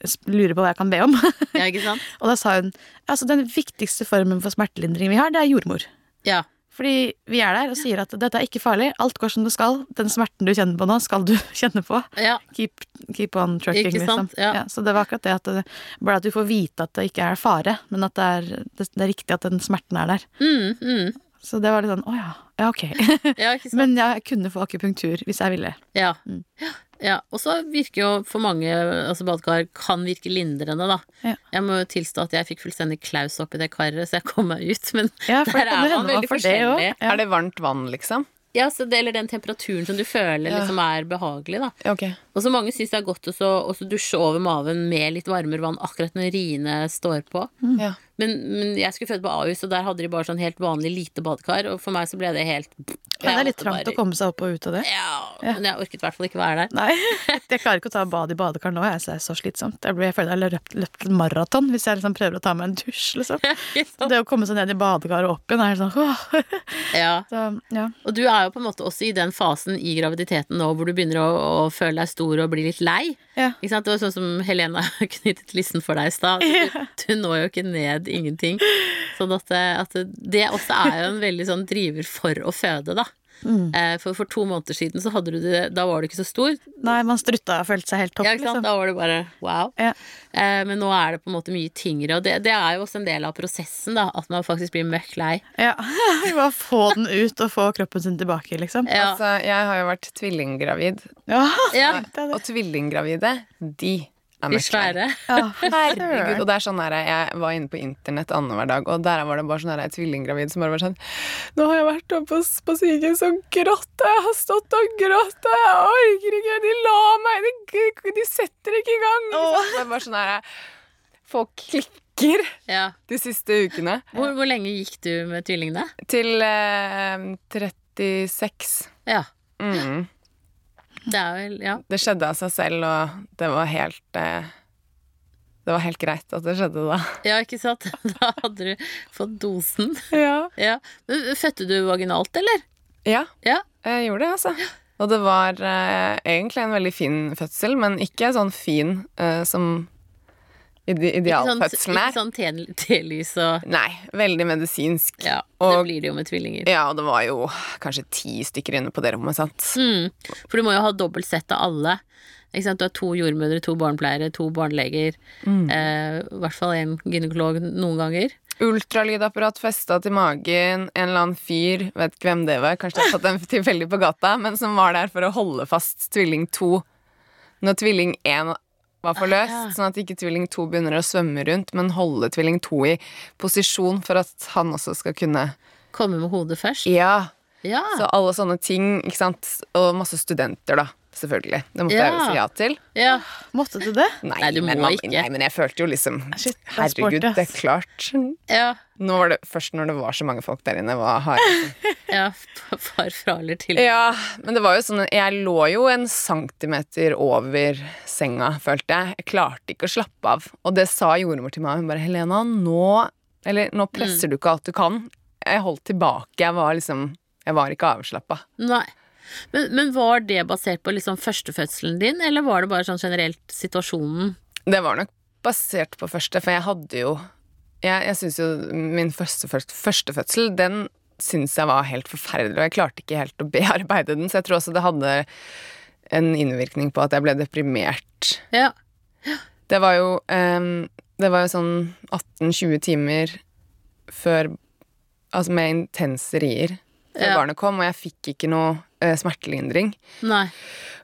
B: s- lurer på hva jeg kan be om. og
A: ja ikke sant?
B: da sa hun altså den viktigste formen for smertelindring vi har, det er jordmor.
A: Ja.
B: Fordi vi er der og sier at dette er ikke farlig, alt går som det skal. Den smerten du kjenner på nå, skal du kjenne på
A: ja.
B: keep, keep on trucking,
A: Ikke sant?
B: liksom.
A: Ja.
B: Ja. så det var akkurat det at det, bare at du får vite at det ikke er fare, men at det er, det, det er riktig at den smerten er der.
A: Mm, mm.
B: Så det var litt sånn å ja, ja ok.
A: ja ikke sant?
B: men jeg kunne få akupunktur hvis jeg ville.
A: Ja.
B: Mm.
A: Ja, ja. Og så virker jo for mange altså badekar kan virke lindrende, da.
B: Ja.
A: Jeg må jo tilstå at jeg fikk fullstendig klaus oppi det karet, så jeg kom meg ut. Men
B: Ja, for det
A: der
B: kan
A: er
B: jo hende
A: man
B: man
A: veldig
B: får det også.
A: forskjellig.
B: Ja.
C: Er det varmt vann, liksom?
A: Ja, så det, Eller den temperaturen som du føler
C: Ja.
A: liksom er behagelig. da
C: Ok.
A: Og så mange syns det er godt å så- å så dusje over maven med litt varmere vann akkurat når riene står på.
B: Mm.
C: Mm. Ja.
A: Men, men jeg skulle føde på Ahus, og der hadde de bare sånn helt vanlig lite badekar. Og for meg så ble det helt
B: Ja, det er
A: altså
B: litt trangt å komme seg opp og ut av det.
A: Ja, Men jeg orket i hvert fall ikke være der.
B: Nei, jeg klarer ikke å ta bad i badekar nå, jeg, så det er så slitsomt. Jeg, blir, jeg føler jeg har løpt, løpt en maraton hvis jeg liksom prøver å ta meg en dusj, liksom. Så det å komme seg ned i badekaret og opp igjen er sånn åh.
A: Ja.
B: Så ja.
A: Og du er jo på en måte også i den fasen i graviditeten nå hvor du begynner å, å føle deg stor og bli litt lei.
B: ja.
A: Ikke sant? Det var sånn som Helena knyttet lissen for deg i stad. Du, du når jo ikke ned ingenting. Sånn at, eh, at det også er jo en veldig sånn driver for å føde, da. Eh, For, for to måneder siden så hadde du det, da var du ikke så stor.
B: Nei, man strutta og følte seg helt topp,
A: Ja, ikke sant?
B: liksom.
A: Da var det bare wow.
B: Ja.
A: Eh, Men nå er det på en måte mye tyngre, og det, det er jo også en del av prosessen, da. At man faktisk blir møkk lei.
B: Ja, vi må få den ut og få kroppen sin tilbake, liksom.
A: Ja.
C: Altså, jeg har jo vært tvillinggravid,
B: Ja,
A: Ja.
B: det er det.
C: og tvillinggravide, de er
A: De
C: mørke.
A: svære.
B: Ja,
C: Herregud, og det er sånn her, Jeg var inne på internett annenhver dag, og der var det bare sånn her, en tvillinggravid som bare var sånn Nå har jeg vært oppe på, på sykehus og grått, og jeg har stått og grått, og jeg orker ikke, de la meg De, de setter ikke i gang. Ikke sant? Det var sånn her, Folk klikker uker
A: Ja.
C: de siste ukene.
A: Hvor, hvor lenge gikk du med tvillingene?
C: Til eh, 36.
A: Ja.
C: Mm.
A: Det er vel Ja.
C: Det skjedde av seg selv, og det var helt eh, Det var helt greit at det skjedde da.
A: ja, ikke sant? Da hadde du fått dosen.
C: Ja.
A: Ja. Men Fødte du vaginalt, eller?
C: Ja,
A: Ja.
C: jeg gjorde det, altså. Og det var eh, egentlig en veldig fin fødsel, men ikke sånn fin eh, som ide
A: Ikke sånn,
C: idealfødselen
A: ikke
C: er.
A: sånn te- telys og
C: Nei, veldig medisinsk.
A: Ja, det
C: Og-
A: blir det jo med tvillinger.
C: Ja, og det var jo kanskje ti stykker inne på det rommet, sant.
A: Mm. For du må jo ha dobbelt sett av alle. Ikke sant? Du har to jordmødre, to barnepleiere, to barneleger.
C: Mm.
A: Eh, I hvert fall en gynekolog noen ganger.
C: Ultralydapparat festa til magen, en eller annen fyr, vet ikke hvem det var, kanskje jeg har fått en tilfeldig på gata, men som var der for å holde fast tvilling to. Når tvilling én var for løst,
A: Ah, ja.
C: sånn at ikke tvilling to begynner å svømme rundt, men holde tvilling to i posisjon for at han også skal kunne
A: Komme med hodet først.
C: Ja.
A: Ja.
C: Så alle sånne ting, ikke sant. Og masse studenter, da. Selvfølgelig. Det måtte jeg jo
A: Ja.
C: si ja til.
A: ja.
B: Måtte du det?
C: Nei,
A: Nei, du
C: men,
A: må
C: man-
A: ikke.
C: nei, men jeg følte jo liksom
B: Shit, det er sport,
C: Herregud,
B: ass.
C: det er klart.
A: ja.
C: Nå var det først når det var så mange folk der inne, hva har
A: Ja, f- far fra eller til.
C: Ja, men det var jo sånn Jeg lå jo en centimeter over senga, følte jeg. Jeg klarte ikke å slappe av. Og det sa jordmor til meg. Hun bare 'Helena, nå Eller 'nå presser du ikke alt du kan'. Jeg holdt tilbake. Jeg var liksom Jeg var ikke avslappa.
A: Nei. Men, men var det basert på liksom førstefødselen din, eller var det bare sånn generelt situasjonen?
C: Det var nok basert på første, for jeg hadde jo Jeg, jeg syns jo min første, første, første fødsel, den syns jeg var helt forferdelig, og jeg klarte ikke helt å bearbeide den, så jeg tror også det hadde en innvirkning på at jeg ble deprimert.
A: Ja.
C: Det var jo, ehm, det var jo sånn 18-20 timer før Altså med intense rier før
A: Ja.
C: barnet kom, og jeg fikk ikke noe eh, smertelindring.
A: Nei.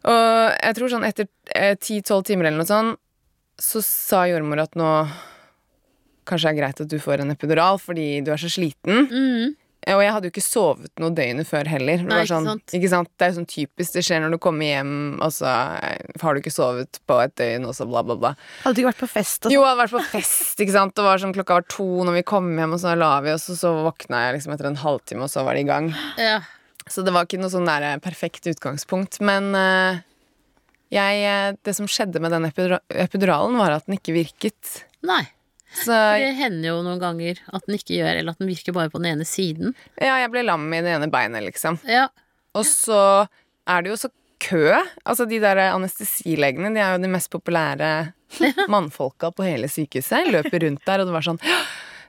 C: Og jeg tror sånn etter eh, 10-12 timer eller noe sånn, så sa jordmor at nå kanskje det er greit at du får en epidural fordi du er så sliten.
A: Mm.
C: Eh, Og jeg hadde jo ikke sovet noe døgnet før heller. Det,
A: Nei,
C: var
A: ikke
C: sånn,
A: sant.
C: ikke sant? det er jo sånn typisk, det skjer når du kommer hjem, og så eh, har du ikke sovet på et døgn, og så bla, bla, bla.
B: Hadde du ikke vært på fest? Og
C: Jo, jeg hadde vært på fest, ikke sant. Det var sånn klokka var to når vi kom hjem, og så la vi oss, og så våkna jeg liksom etter en halvtime, og så var det i gang.
A: Ja.
C: Så det var ikke noe sånn der eh, perfekt utgangspunkt. Men eh, jeg, eh, det som skjedde med den epidura epiduralen, var at den ikke virket.
A: Nei.
C: Så
A: Det hender jo noen ganger at den ikke gjør, eller at den virker bare på den ene siden.
C: ja, jeg ble lam i det ene beinet, liksom.
A: Ja.
C: Og så er det jo så kø. Altså, de der anestesilegene, de er jo de mest populære mannfolka på hele sykehuset. Løper rundt der, og det var sånn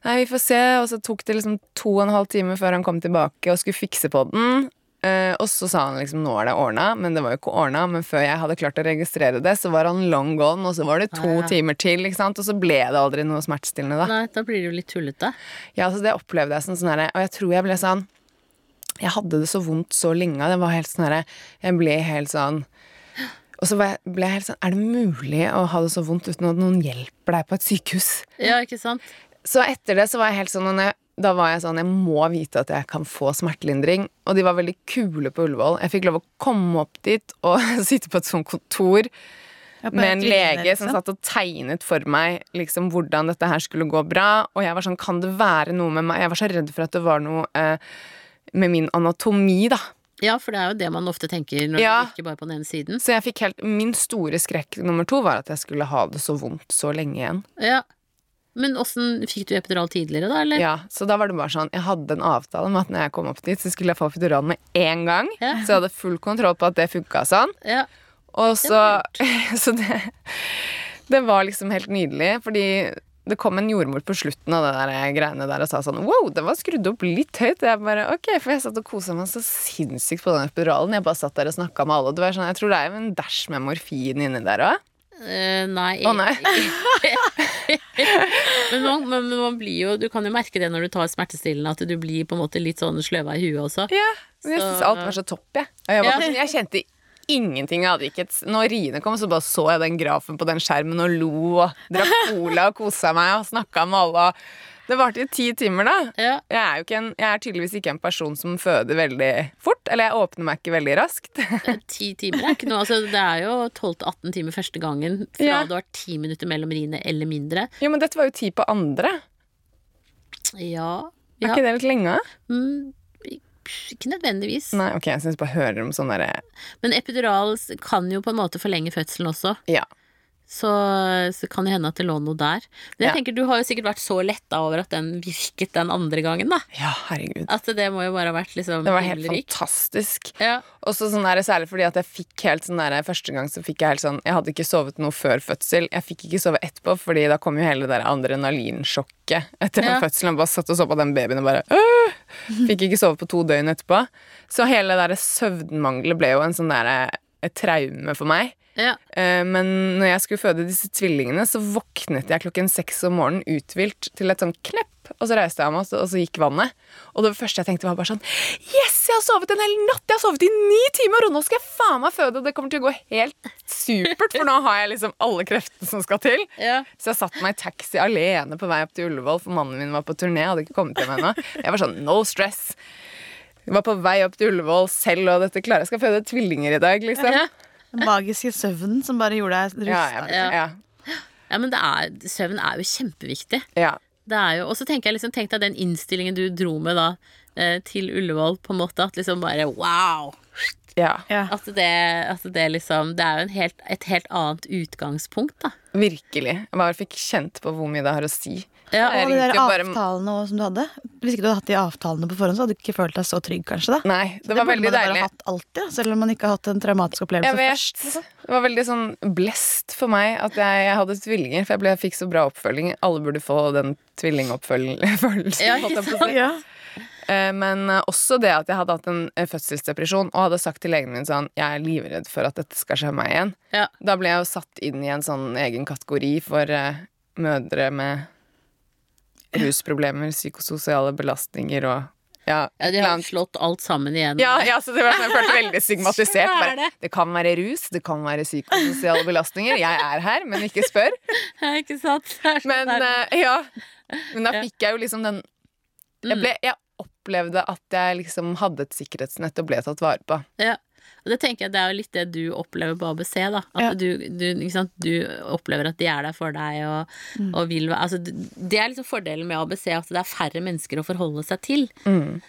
C: Nei, vi får se. Og så tok det liksom to og en halv time før han kom tilbake og skulle fikse på den. Eh, og så sa han liksom 'nå er det ordna', men det var jo ikke ordna. Men før jeg hadde klart å registrere det, så var han long gone, og så var det to
A: Ah.
C: timer til, ikke sant. Og så ble det aldri noe smertestillende, da.
A: Nei, da blir det jo litt tullete.
C: Ja, altså det opplevde jeg som sånn herre Og jeg tror jeg ble sånn Jeg hadde det så vondt så lenge. Det var helt sånn herre Jeg ble helt sånn Og så var jeg- ble jeg helt sånn Er det mulig å ha det så vondt uten at noen hjelper deg på et sykehus?
A: Ja, ikke sant?
C: Så etter det så var jeg helt sånn og når jeg, Da var jeg sånn Jeg må vite at jeg kan få smertelindring. Og de var veldig kule på Ullevål. Jeg fikk lov å komme opp dit og sitte på et sånt kontor
B: Ja, på
C: med en
B: tvillingene,
C: lege som
B: liksom.
C: satt og tegnet for meg liksom, hvordan dette her skulle gå bra. Og jeg var sånn, kan det være noe med meg? Jeg var så redd for at det var noe eh, med min anatomi, da.
A: Ja, for det er jo det man ofte tenker når
C: Ja.
A: den virker bare på den ene siden.
C: Så jeg fikk helt, min store skrekk nummer to var at jeg skulle ha det så vondt så lenge igjen.
A: Ja. Men åssen fikk du epidural tidligere, da, eller?
C: Ja, Så da var det bare sånn, jeg hadde en avtale med at når jeg kom opp dit, så skulle jeg få epidural med én gang.
A: Ja.
C: Så jeg hadde full kontroll på at det funka sånn.
A: Ja.
C: Og
A: Det
C: så
A: var
C: Så det, det var liksom helt nydelig, fordi det kom en jordmor på slutten av det der greiene der og sa sånn Wow, det var skrudd opp litt høyt. Jeg bare, ok, For jeg satt og kosa meg så sinnssykt på den epiduralen. Jeg bare satt der og snakka med alle. og Det var sånn, jeg tror det er jo en dash med morfin inni der òg.
A: Eh, nei.
C: Å, nei.
A: men, man, men men man blir jo Du kan jo merke det når du tar smertestillende, at du blir på en måte litt sånn sløva i huet også.
C: Ja, men jeg
A: Så-
C: syns alt var så topp, jeg. Og jeg, var
A: Ja.
C: bare sånn, jeg kjente ingenting. Jeg hadde ikke et, når riene kom, så bare så jeg den grafen på den skjermen og lo og drakk cola og kosa meg og snakka med alle. og Det varte i ti timer, da.
A: Ja.
C: Jeg er, jo ikke en, jeg er tydeligvis ikke en person som føder veldig fort. Eller jeg åpner meg ikke veldig raskt.
A: Ti timer er ikke noe. Altså, det er jo 12-18 timer første gangen fra
C: Ja.
A: du har ti minutter mellom riene eller mindre.
C: Jo, men dette var jo ti på andre.
A: Ja.
C: Er
A: ja.
C: ikke det litt lenge?
A: Mm, ikke nødvendigvis.
C: Nei, ok, jeg syns bare hører om sånn derre
A: Men epidural s- kan jo på en måte forlenge fødselen også.
C: Ja.
A: Så, så kan det hende at det lå noe der. Men jeg
C: Ja.
A: tenker du har jo sikkert vært så letta over at den virket den andre gangen, da.
C: Ja, herregud.
A: At det må jo bare ha vært liksom
C: Det var helt
A: himmelrik.
C: fantastisk.
A: Ja.
C: Og så sånn der, særlig fordi at jeg fikk helt sånn der, Første gang så fikk jeg helt sånn Jeg hadde ikke sovet noe før fødsel. Jeg fikk ikke sove etterpå, fordi da kom jo hele det der adrenalinsjokket etter
A: Ja.
C: den fødselen. Jeg bare satt og så på den babyen og bare «Åh!» Fikk ikke sove på to døgn etterpå. Så hele det der søvnmangelet ble jo en sånn der, et traume for meg.
A: Ja.
C: Eh, Men når jeg skulle føde disse tvillingene, så våknet jeg klokken seks om morgenen uthvilt til et sånn knepp, og så reiste jeg meg, og så- og så gikk vannet. Og det første jeg tenkte, var bare sånn Yes, jeg har sovet en hel natt! Jeg har sovet i ni timer, og nå skal jeg faen meg føde! Og det kommer til å gå helt supert, for nå har jeg liksom alle kreftene som skal til.
A: Ja.
C: Så jeg satte meg i taxi alene på vei opp til Ullevål, for mannen min var på turné. Hadde ikke kommet hjem ennå. Jeg var sånn no stress. Jeg var på vei opp til Ullevål selv, og dette klarer jeg. Jeg skal føde tvillinger i dag, liksom.
A: Ja.
B: Den magiske søvnen som bare gjorde deg rusta.
C: Ja, ja,
A: Ja.
C: ja,
A: ja, men det er, søvn er jo kjempeviktig.
C: ja.
A: Det er jo, og så tenker jeg liksom, tenk deg den innstillingen du dro med da eh, til Ullevål, på en måte, at liksom bare wow!
C: ja.
B: Ja.
A: At det, at det liksom Det er jo en helt, et helt annet utgangspunkt, da.
C: Virkelig. Jeg bare fikk kjent på hvor mye det har å si.
A: Ja,
C: Jeg
B: Og de der
C: ringte jo bare-
B: avtalene også, som du hadde. Hvis ikke du hadde hatt de avtalene på forhånd, så hadde du ikke følt deg så trygg, kanskje. da
C: Nei, det var
B: burde
C: veldig
B: man jo
C: deilig.
B: bare hatt alltid, da, selv om man ikke har hatt en traumatisk opplevelse
C: Jeg vet. Det var veldig sånn blest for meg at jeg, jeg hadde tvillinger, for jeg, ble, jeg fikk så bra oppfølging. Alle burde få den tvillingoppfølgelsen.
A: Ja,
C: holdt jeg
A: ikke
C: på å si.
A: sant?
B: Ja.
C: Eh, Men eh, også det at jeg hadde hatt en eh, fødselsdepresjon og hadde sagt til legen min sånn Jeg er livredd for at dette skal skje meg igjen.
A: Ja.
C: Da ble jeg jo satt inn i en sånn egen kategori for eh, mødre med rusproblemer, psykososiale belastninger og ja,
A: Ja,
C: et
A: de
C: eller
A: har
C: annet
A: jo slått alt sammen igjen.
C: Ja, ja så det var sånn, jeg følte veldig stigmatisert.
A: Hva er
C: Bare, det kan være rus, det kan være psykososiale belastninger. Jeg er her, men ikke spør.
A: Ja, ikke sant? Det er sånn
C: Men,
A: der-
C: eh, ja. men da fikk jeg jo liksom den jeg, ble,
A: Mm.
C: jeg opplevde at jeg liksom hadde et sikkerhetsnett og ble tatt vare på.
A: ja. Og det tenker jeg det er jo litt det du opplever på ABC, da. At
B: Ja.
A: du, du, ikke sant? du opplever at de er der for deg og,
C: Mm.
A: og vil være altså, du- Det er liksom fordelen med ABC, at det er færre mennesker å forholde seg til.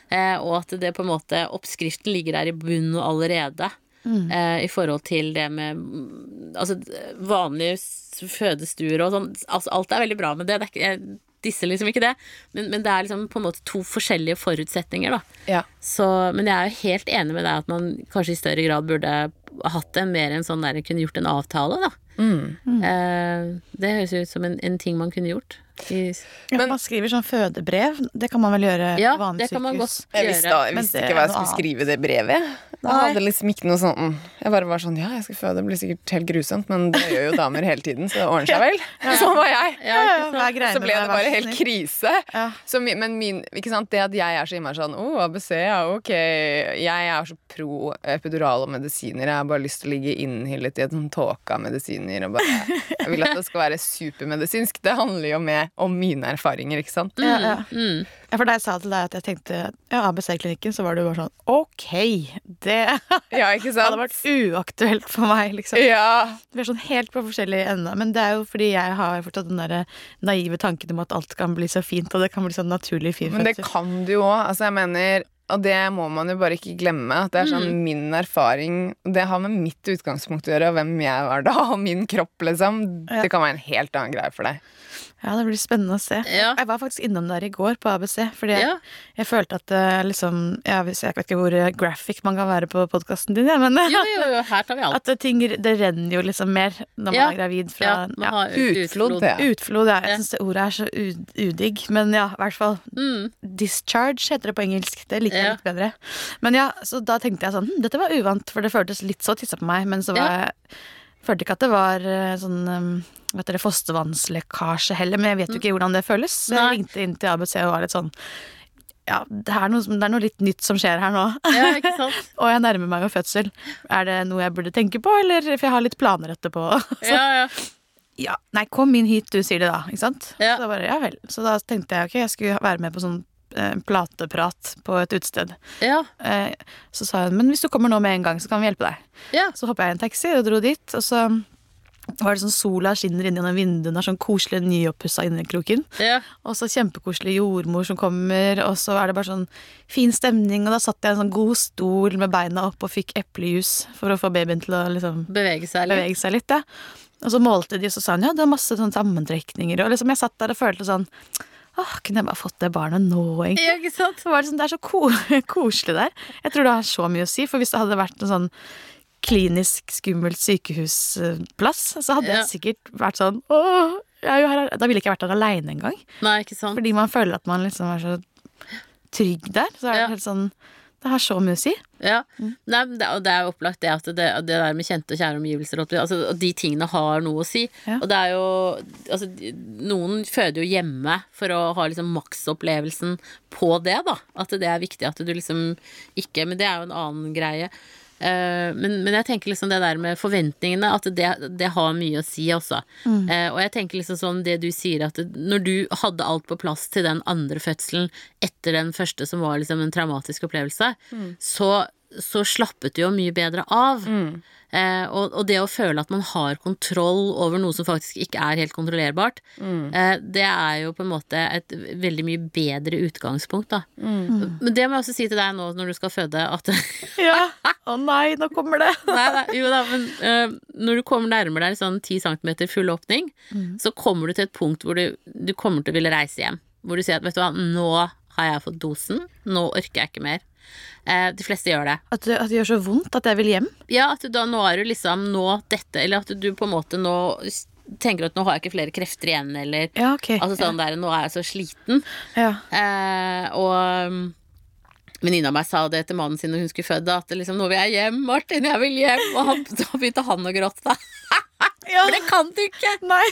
A: Eh, og at det på en måte Oppskriften ligger der i bunnen allerede.
B: Mm.
A: Eh, I forhold til det med mm, altså, d- vanlige s- fødestuer og sånn. Altså, alt er veldig bra med det. det er ikke, jeg disser liksom ikke det. Men, men det er liksom på en måte to forskjellige forutsetninger, da.
C: Ja.
A: Så, men jeg er jo helt enig med deg at man kanskje i større grad burde hatt det mer enn sånn der kunne gjort en avtale, da.
B: Mm.
A: Eh, det høres jo ut som en, en ting man kunne gjort. I,
B: Ja,
C: Men-
B: man skriver sånn fødebrev. Det kan man vel gjøre
A: ja,
B: på vanlig
A: det kan man
B: sykehus.
A: godt gjøre.
B: jeg Men visste det ikke hva er jeg noe skulle annet.
C: skrive i det brevet. Jeg
B: Nei.
C: hadde liksom ikke noe sånn mm. Jeg bare var sånn Ja, jeg skal føde, det blir sikkert helt grusomt, men det gjør jo damer hele tiden, så det ordner seg vel. Sånn var jeg.
A: Ja,
B: Ja,
A: ikke
B: ja,
A: sant?
B: hva er greia
C: Så
B: med
C: ble
B: deg,
C: det
B: vær
C: bare
B: så
C: helt
B: snill?
C: krise.
B: Ja.
C: Så, mi- men min, ikke sant? det at jeg er så innmari sånn Å, ABC, ja, ok. Jeg er så pro epidural og medisiner. Jeg har bare lyst til å ligge innhyllet i et sånn tåke av medisiner. Og bare, jeg vil at det skal være supermedisinsk. Det handler jo med, om mine erfaringer, ikke sant?
B: Ja, ja.
A: Mm.
B: ja, for da jeg sa til deg at jeg tenkte ja, ABC-klinikken, så var du bare sånn OK, det hadde
C: Ja, ikke sant?
B: vært uaktuelt for meg, liksom.
C: Ja.
B: Vi er sånn helt på forskjellige ender, men det er jo fordi jeg har fortsatt den der naive tanken om at alt kan bli så fint, og det kan bli sånn naturlig fin
C: Men det
B: fødsel.
C: kan du jo òg. Altså, jeg mener og det må man jo bare ikke glemme. At det er sånn
A: Mm.
C: min erfaring og Det har med mitt utgangspunkt å gjøre, og hvem jeg var da, og min kropp, liksom.
B: Ja.
C: Det kan være en helt annen greie for deg.
B: Ja, det blir spennende å se.
A: Ja.
B: Jeg var faktisk innom der i går på ABC, fordi
A: Ja.
B: jeg, jeg følte at eh, liksom ja, hvis- Jeg vet ikke hvor eh, graphic man kan være på podkasten din, ja, men eh,
A: Jo, jo, jo, her tar vi alt.
B: at ting Det renner jo liksom mer når man
A: Ja.
B: er gravid fra
A: Ja,
B: ja.
A: man har
C: Utflod, det.
B: Utflod, ja.
A: Ja.
B: Jeg syns det ordet er så u- udigg, men ja, i hvert fall.
A: Mm.
B: Discharge heter det på engelsk. Det liker
A: Ja.
B: jeg litt bedre. Men ja, så da tenkte jeg sånn hm, Dette var uvant, for det føltes litt så tissa på meg, men så var
A: Ja.
B: jeg Følte ikke at det var eh, sånn um, Vet dere, fostervannslekkasje heller, men jeg vet jo ikke hvordan det føles. Så jeg
A: Mm. Nei.
B: ringte inn til ABC og var litt sånn Ja, det er noe, som- det er noe litt nytt som skjer her nå.
A: Ja, ikke sant?
B: Og jeg nærmer meg Altså. jo fødsel. Er det noe jeg burde tenke på, eller For jeg har litt planer etterpå. Så
A: Ja, ja.
B: ja, nei, kom inn hit, du sier det da, ikke sant?
A: Ja.
B: Så da bare, ja vel. Så da tenkte jeg, ok, jeg skulle være med på sånn eh, plateprat på et utsted.
A: Ja,
B: Eh, så sa hun, men hvis du kommer nå med en gang, så kan vi hjelpe deg.
A: ja.
B: Så hoppet jeg i en taxi og dro dit, og så var det sånn sola skinner inn gjennom vinduene, har sånn koselig nyoppussa innekroken.
A: ja.
B: Og så kjempekoselig jordmor som kommer, og så er det bare sånn fin stemning. Og da satt jeg i en sånn god stol med beina opp og fikk eplejus for å få babyen til å liksom
A: Bevege seg litt.
B: bevege seg litt. Ja. Og så målte de, og så sa hun ja, det er masse sånn sammentrekninger. Og liksom jeg satt der og følte sånn åh, kunne jeg bare fått det barnet nå, egentlig?
A: Ja, ikke sant?
B: Så var det, sånn, det er så ko koselig der. Jeg tror det har så mye å si, for hvis det hadde vært en sånn klinisk skummelt sykehusplass, så hadde
A: Ja.
B: jeg sikkert vært sånn åh, jeg er jo her, da ville jeg ikke vært der aleine engang.
A: Nei, ikke sant.
B: Fordi man føler at man liksom er så trygg der. Så er det
A: Ja.
B: helt sånn Det har så mye å si.
A: Ja.
B: Mm.
A: Nei, men det, og det er jo opplagt det at det, det der med kjente og kjære omgivelser og alt det- altså, og de tingene har noe å si.
B: Ja.
A: Og det er jo altså, de- Noen føder jo hjemme for å ha liksom maksopplevelsen på det, da. At det er viktig at du liksom ikke Men det er jo en annen greie. Eh, men, men jeg tenker liksom det der med forventningene, at det, det har mye å si også. Eh, og jeg tenker liksom sånn det du sier, at det- når du hadde alt på plass til den andre fødselen etter den første som var liksom en traumatisk opplevelse, så, så slappet du jo mye bedre av. Eh, og, og det å føle at man har kontroll over noe som faktisk ikke er helt kontrollerbart, eh, det er jo på en måte et veldig mye bedre utgangspunkt, da. Men det må jeg også si til deg nå når du skal føde, at
B: Ja. Å nei, nå kommer det!
A: Nei, nei, jo da, men eh, når du kommer nærmere deg sånn 10 cm full åpning, så kommer du til et punkt hvor du, du kommer til å ville reise hjem. Hvor du sier at vet du hva, nå har jeg fått dosen, nå orker jeg ikke mer. Eh, de fleste gjør det.
B: At, det- at det gjør så vondt at jeg vil hjem.
A: Ja, at du da nå er du liksom nå dette, eller at du på en måte nå s- tenker at nå har jeg ikke flere krefter igjen, eller
B: Ja, ok.
A: Altså sånn der, nå er jeg så sliten.
B: ja.
A: Eh, og um, venninna av meg sa det til mannen sin når hun skulle fødde, at liksom, nå vil jeg hjem, Martin, jeg vil hjem. Og han, da begynte han å gråte.
B: Ja.
A: For det kan du ikke!
B: Nei.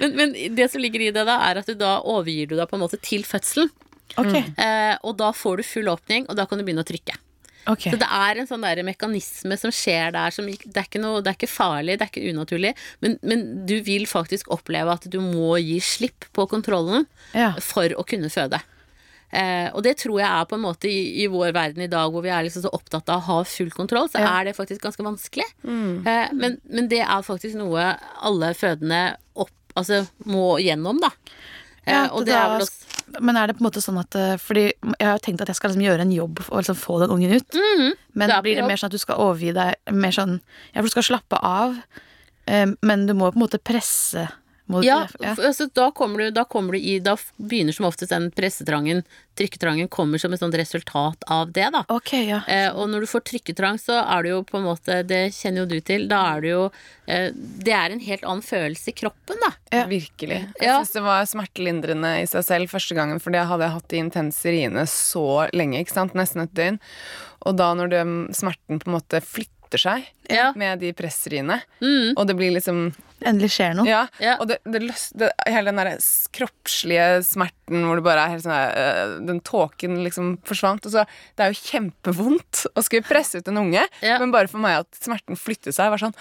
A: Men, men det som ligger i det, da, er at du da overgir du deg på en måte til fødselen.
B: Mm. Ok.
A: Eh, og da får du full åpning, og da kan du begynne å trykke.
B: ok.
A: Så det er en sånn der mekanisme som skjer der. Som, ikke- det, er ikke noe, det er ikke farlig, det er ikke unaturlig, men, men du vil faktisk oppleve at du må gi slipp på kontrollen
B: Ja.
A: for å kunne føde. Eh, og det tror jeg er på en måte i, i vår verden i dag, hvor vi er liksom så opptatt av å ha full kontroll, så
B: Ja. Mm.
A: er det faktisk ganske vanskelig. Eh, men, men det er faktisk noe alle fødende opp, altså, må gjennom, da. Eh,
B: Ja,
A: og
B: det
A: det er
B: da-
A: vel også
B: Men er det på en måte sånn at eh, Fordi jeg har tenkt at jeg skal liksom gjøre en jobb og liksom få den ungen ut. Men
A: det er på
B: blir det
A: jobb.
B: mer sånn at du skal overgi deg mer sånn Ja, for du skal slappe av, eh, men du må på en måte presse mot
A: Ja,
B: ja.
A: for- altså, da kommer du, da kommer du i Da f- begynner som oftest den pressetrangen, trykketrangen, kommer som et sånt resultat av det, da.
B: Ok, ja.
A: Eh, og når du får trykketrang, så er det jo på en måte Det kjenner jo du til. Da er det jo eh, Det er en helt annen følelse i kroppen, da.
B: Ja.
C: Virkelig. Jeg
A: Ja.
C: synes det var smertelindrende i seg selv første gangen, for det hadde jeg hatt de intense riene så lenge, ikke sant? Nesten et døgn. Og da når det, smerten på en måte flytter seg
A: Ja.
C: med de pressriene,
A: Mm.
C: og det blir liksom
B: Endelig skjer noe.
C: Ja,
A: Ja.
C: og det, det, løs- det, hele den der s- kroppslige smerten hvor det bare er helt sånn der, øh, Den tåken liksom forsvant. Og så, det er jo kjempevondt å skulle presse ut en unge,
A: Ja.
C: men bare for meg at smerten flyttet seg, var sånn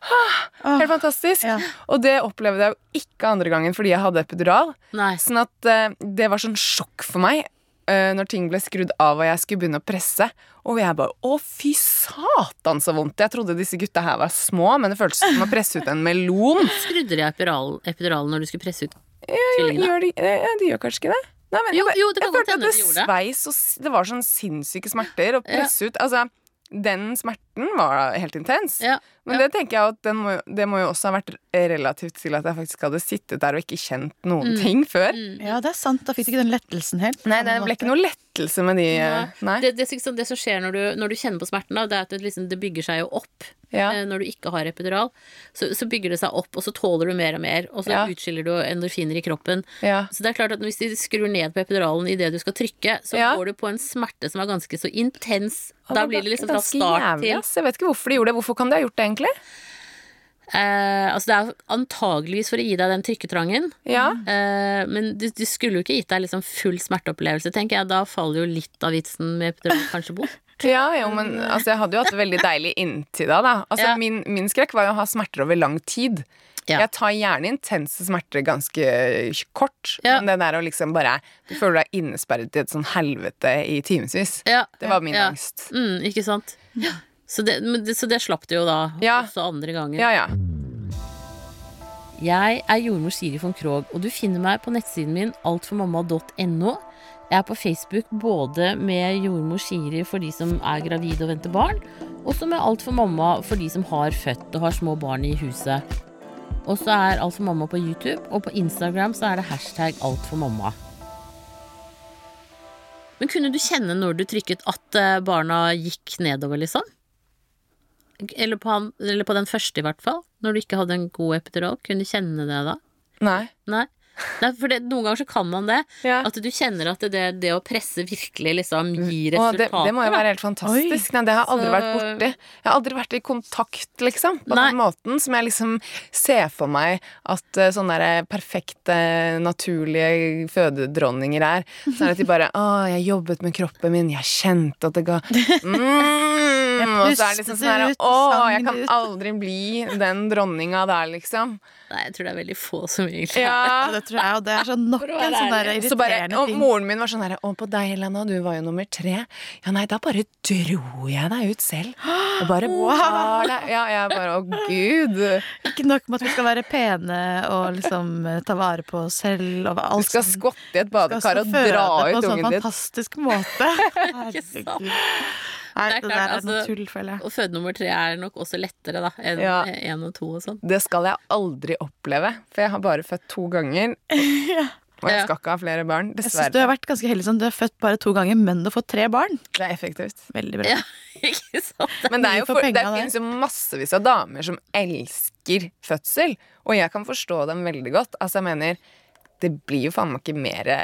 B: Åh.
C: Helt fantastisk.
B: Ja.
C: Og det opplevde jeg jo ikke andre gangen fordi jeg hadde epidural.
A: Nei.
C: Sånn at eh, det var sånn sjokk for meg eh, når ting ble skrudd av og jeg skulle begynne å presse. Og jeg bare Å, fy satan, så vondt. Jeg trodde disse gutta her var små, men det føltes som å presse ut en melon.
A: Skrudde de epidural- epiduralen når du skulle presse ut tvillingene?
C: Gjør de, eh, ja, de gjør kanskje ikke det? Nei, men
A: Jo,
C: jeg, bare-
A: jo, det
C: jeg
A: kan godt
C: følte at
A: hende
C: det
A: de gjorde det.
C: sveis og s- Det var sånn sinnssyke smerter å presse ut. Altså, den smerten var helt intens.
A: Ja.
C: Men det tenker jeg at den må, jo- det må jo også ha vært relativt til at jeg faktisk hadde sittet der og ikke kjent noen
A: Mm.
C: ting før.
B: Ja, det er sant. Da fikk du ikke den lettelsen helt.
C: Nei, det ble ikke noe lettelse med de eh, Nei.
A: Det, det, er liksom det som skjer når du, når du kjenner på smerten, da, det er at det, liksom, det bygger seg jo opp.
C: Ja.
A: Eh, Når du ikke har epidural, så, så bygger det seg opp, og så tåler du mer og mer. Og så
C: Ja.
A: utskiller du endorfiner i kroppen.
C: Ja.
A: Så det er klart at hvis de skrur ned på epiduralen idet du skal trykke, så
C: Ja.
A: går du på en smerte som er ganske så intens.
C: Og
A: Da
C: det
A: blir
C: var
A: det liksom fra
C: ganske
A: start
C: jævlig,
A: til
C: ass. Jeg vet ikke hvorfor de gjorde det. Hvorfor kan de ha gjort det, egentlig?
A: eh, Altså det er antageligvis for å gi deg den trykketrangen.
C: Ja.
A: Eh, men du, du skulle jo ikke gitt deg liksom full smerteopplevelse, tenker jeg. Da faller jo litt av vitsen med epidural kanskje bort.
C: Ja, jo, men altså, jeg hadde jo hatt det veldig deilig inntil da. da. Altså,
A: Mm. Ja.
C: min, min skrekk var jo å ha smerter over lang tid.
A: Ja.
C: Jeg tar gjerne intense smerter ganske eh, kort,
A: Ja.
C: men det der å liksom bare Du føler deg innesperret i et sånn helvete i timevis.
A: Ja.
C: Det var min
A: Ja.
C: angst.
A: Mm, ikke sant? Så det, men det, så det slapp du jo da,
C: Ja.
A: også andre gangen.
C: Ja, ja.
A: Jeg er jordmor Siri von Krogh, og du finner meg på nettsiden min altformamma.no. Jeg er på Facebook både med jordmor Siri for de som er gravide og venter barn, og så med Alt for mamma for de som har født og har små barn i huset. Og så er Alt for mamma på YouTube, og på Instagram så er det hashtag alt for mamma. Men kunne du kjenne når du trykket at eh, barna gikk nedover, liksom? Eller på, han, eller på den første, i hvert fall. Når du ikke hadde en god epidural. Kunne du kjenne det da?
C: Nei.
A: Nei. Nei, for det, Noen ganger så kan man det.
C: Ja.
A: At du kjenner at det, det å presse virkelig liksom gir
C: Mm. Å,
A: resultater.
C: det, det må jo
A: da.
C: være helt fantastisk. Nei, det har jeg aldri
A: Så-
C: vært borti. Jeg har aldri vært i kontakt, liksom, på
A: Nei.
C: den måten som jeg liksom ser for meg at eh, sånne der perfekte, naturlige fødedronninger er. Sånn at de bare Å, jeg jobbet med kroppen min, jeg kjente at det ga mm, Og så er det
B: pustet
C: liksom sånn her
B: ut,
C: Å,
B: sang
C: jeg
B: det
C: kan
B: ut.
C: aldri bli den dronninga der, liksom.
A: Nei, jeg tror det er veldig få som egentlig
B: Ja,
C: Ja.
B: det tror jeg, og det er sånn nok
A: For å
B: en
A: være
B: sånn der
A: ærlig.
B: irriterende
C: Så bare, og
B: ting.
C: moren min var sånn her Å, på deg, Helena, du var jo nummer tre. Ja, nei, da bare dro jeg deg ut selv. Og bare bar deg Ja, jeg bare Å, gud.
B: Ikke nok med at vi skal være pene og liksom eh, ta vare på oss selv og
C: Du
B: alt
C: skal
B: sånt.
C: skvatte i et
B: Vi
C: badekar
B: skal
C: og
B: også føde
C: dra
B: på en
C: ut
B: sånn
C: ungen din.
B: fantastisk måte.
A: sant?
B: Herregud. Nei,
A: Det er
B: det der
A: klart,
B: er noe
A: altså-
B: tull, føler jeg.
A: Og føde nummer tre er nok også lettere da enn
C: Ja.
A: én og to og sånn.
C: Det skal jeg aldri oppleve, for jeg har bare født to ganger. Og jeg
A: Ja.
C: skal ikke ha flere barn,
B: Jeg synes du
C: dessverre.
B: har vært ganske heldig som du har født bare to ganger, men du har fått tre barn.
C: Det er effektivt.
B: Veldig bra.
A: Ja, ikke sant?
C: Men det, er
B: Mye
C: jo
B: for
C: for, det
B: penga, det.
C: finnes jo massevis av damer som elsker fødsel, og jeg kan forstå dem veldig godt. Altså, jeg mener, det blir jo faen meg ikke mer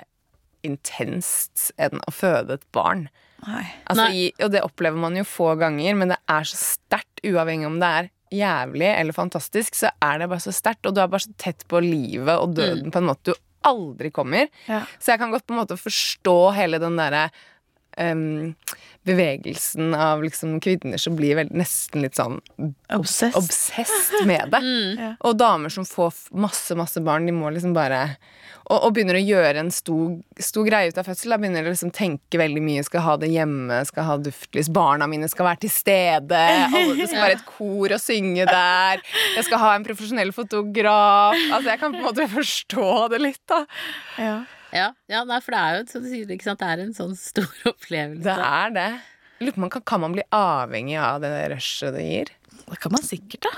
C: intenst enn å føde et barn.
B: Nei.
C: Altså,
A: Nei.
C: i, og det opplever man jo få ganger, men det er så sterkt, uavhengig om det er jævlig eller fantastisk, så er det bare så sterkt, og du er bare så tett på livet og døden på en måte du aldri kommer.
B: Ja.
C: Så jeg kan godt på en måte forstå hele den derre em, bevegelsen av liksom kvinner som blir veldig, nesten litt sånn
B: Obsessed.
C: obsesst med det.
B: Ja.
C: Og damer som får f- masse, masse barn, de må liksom bare Og, og begynner å gjøre en stor, stor greie ut av fødsel. Da begynner de liksom tenke veldig mye. Skal ha det hjemme, skal ha duftlys, barna mine skal være til stede. Alle, det skal være et kor å synge der. Jeg skal ha en profesjonell fotograf. Altså, jeg kan på en måte forstå det litt, da.
B: ja.
A: Ja, ja nei, for det er jo et- som du sier, ikke sant? Det er en sånn stor opplevelse.
C: Det er det. Jeg Lurer på om man kan, kan man bli avhengig av det rushet det gir?
B: Det kan man sikkert, da.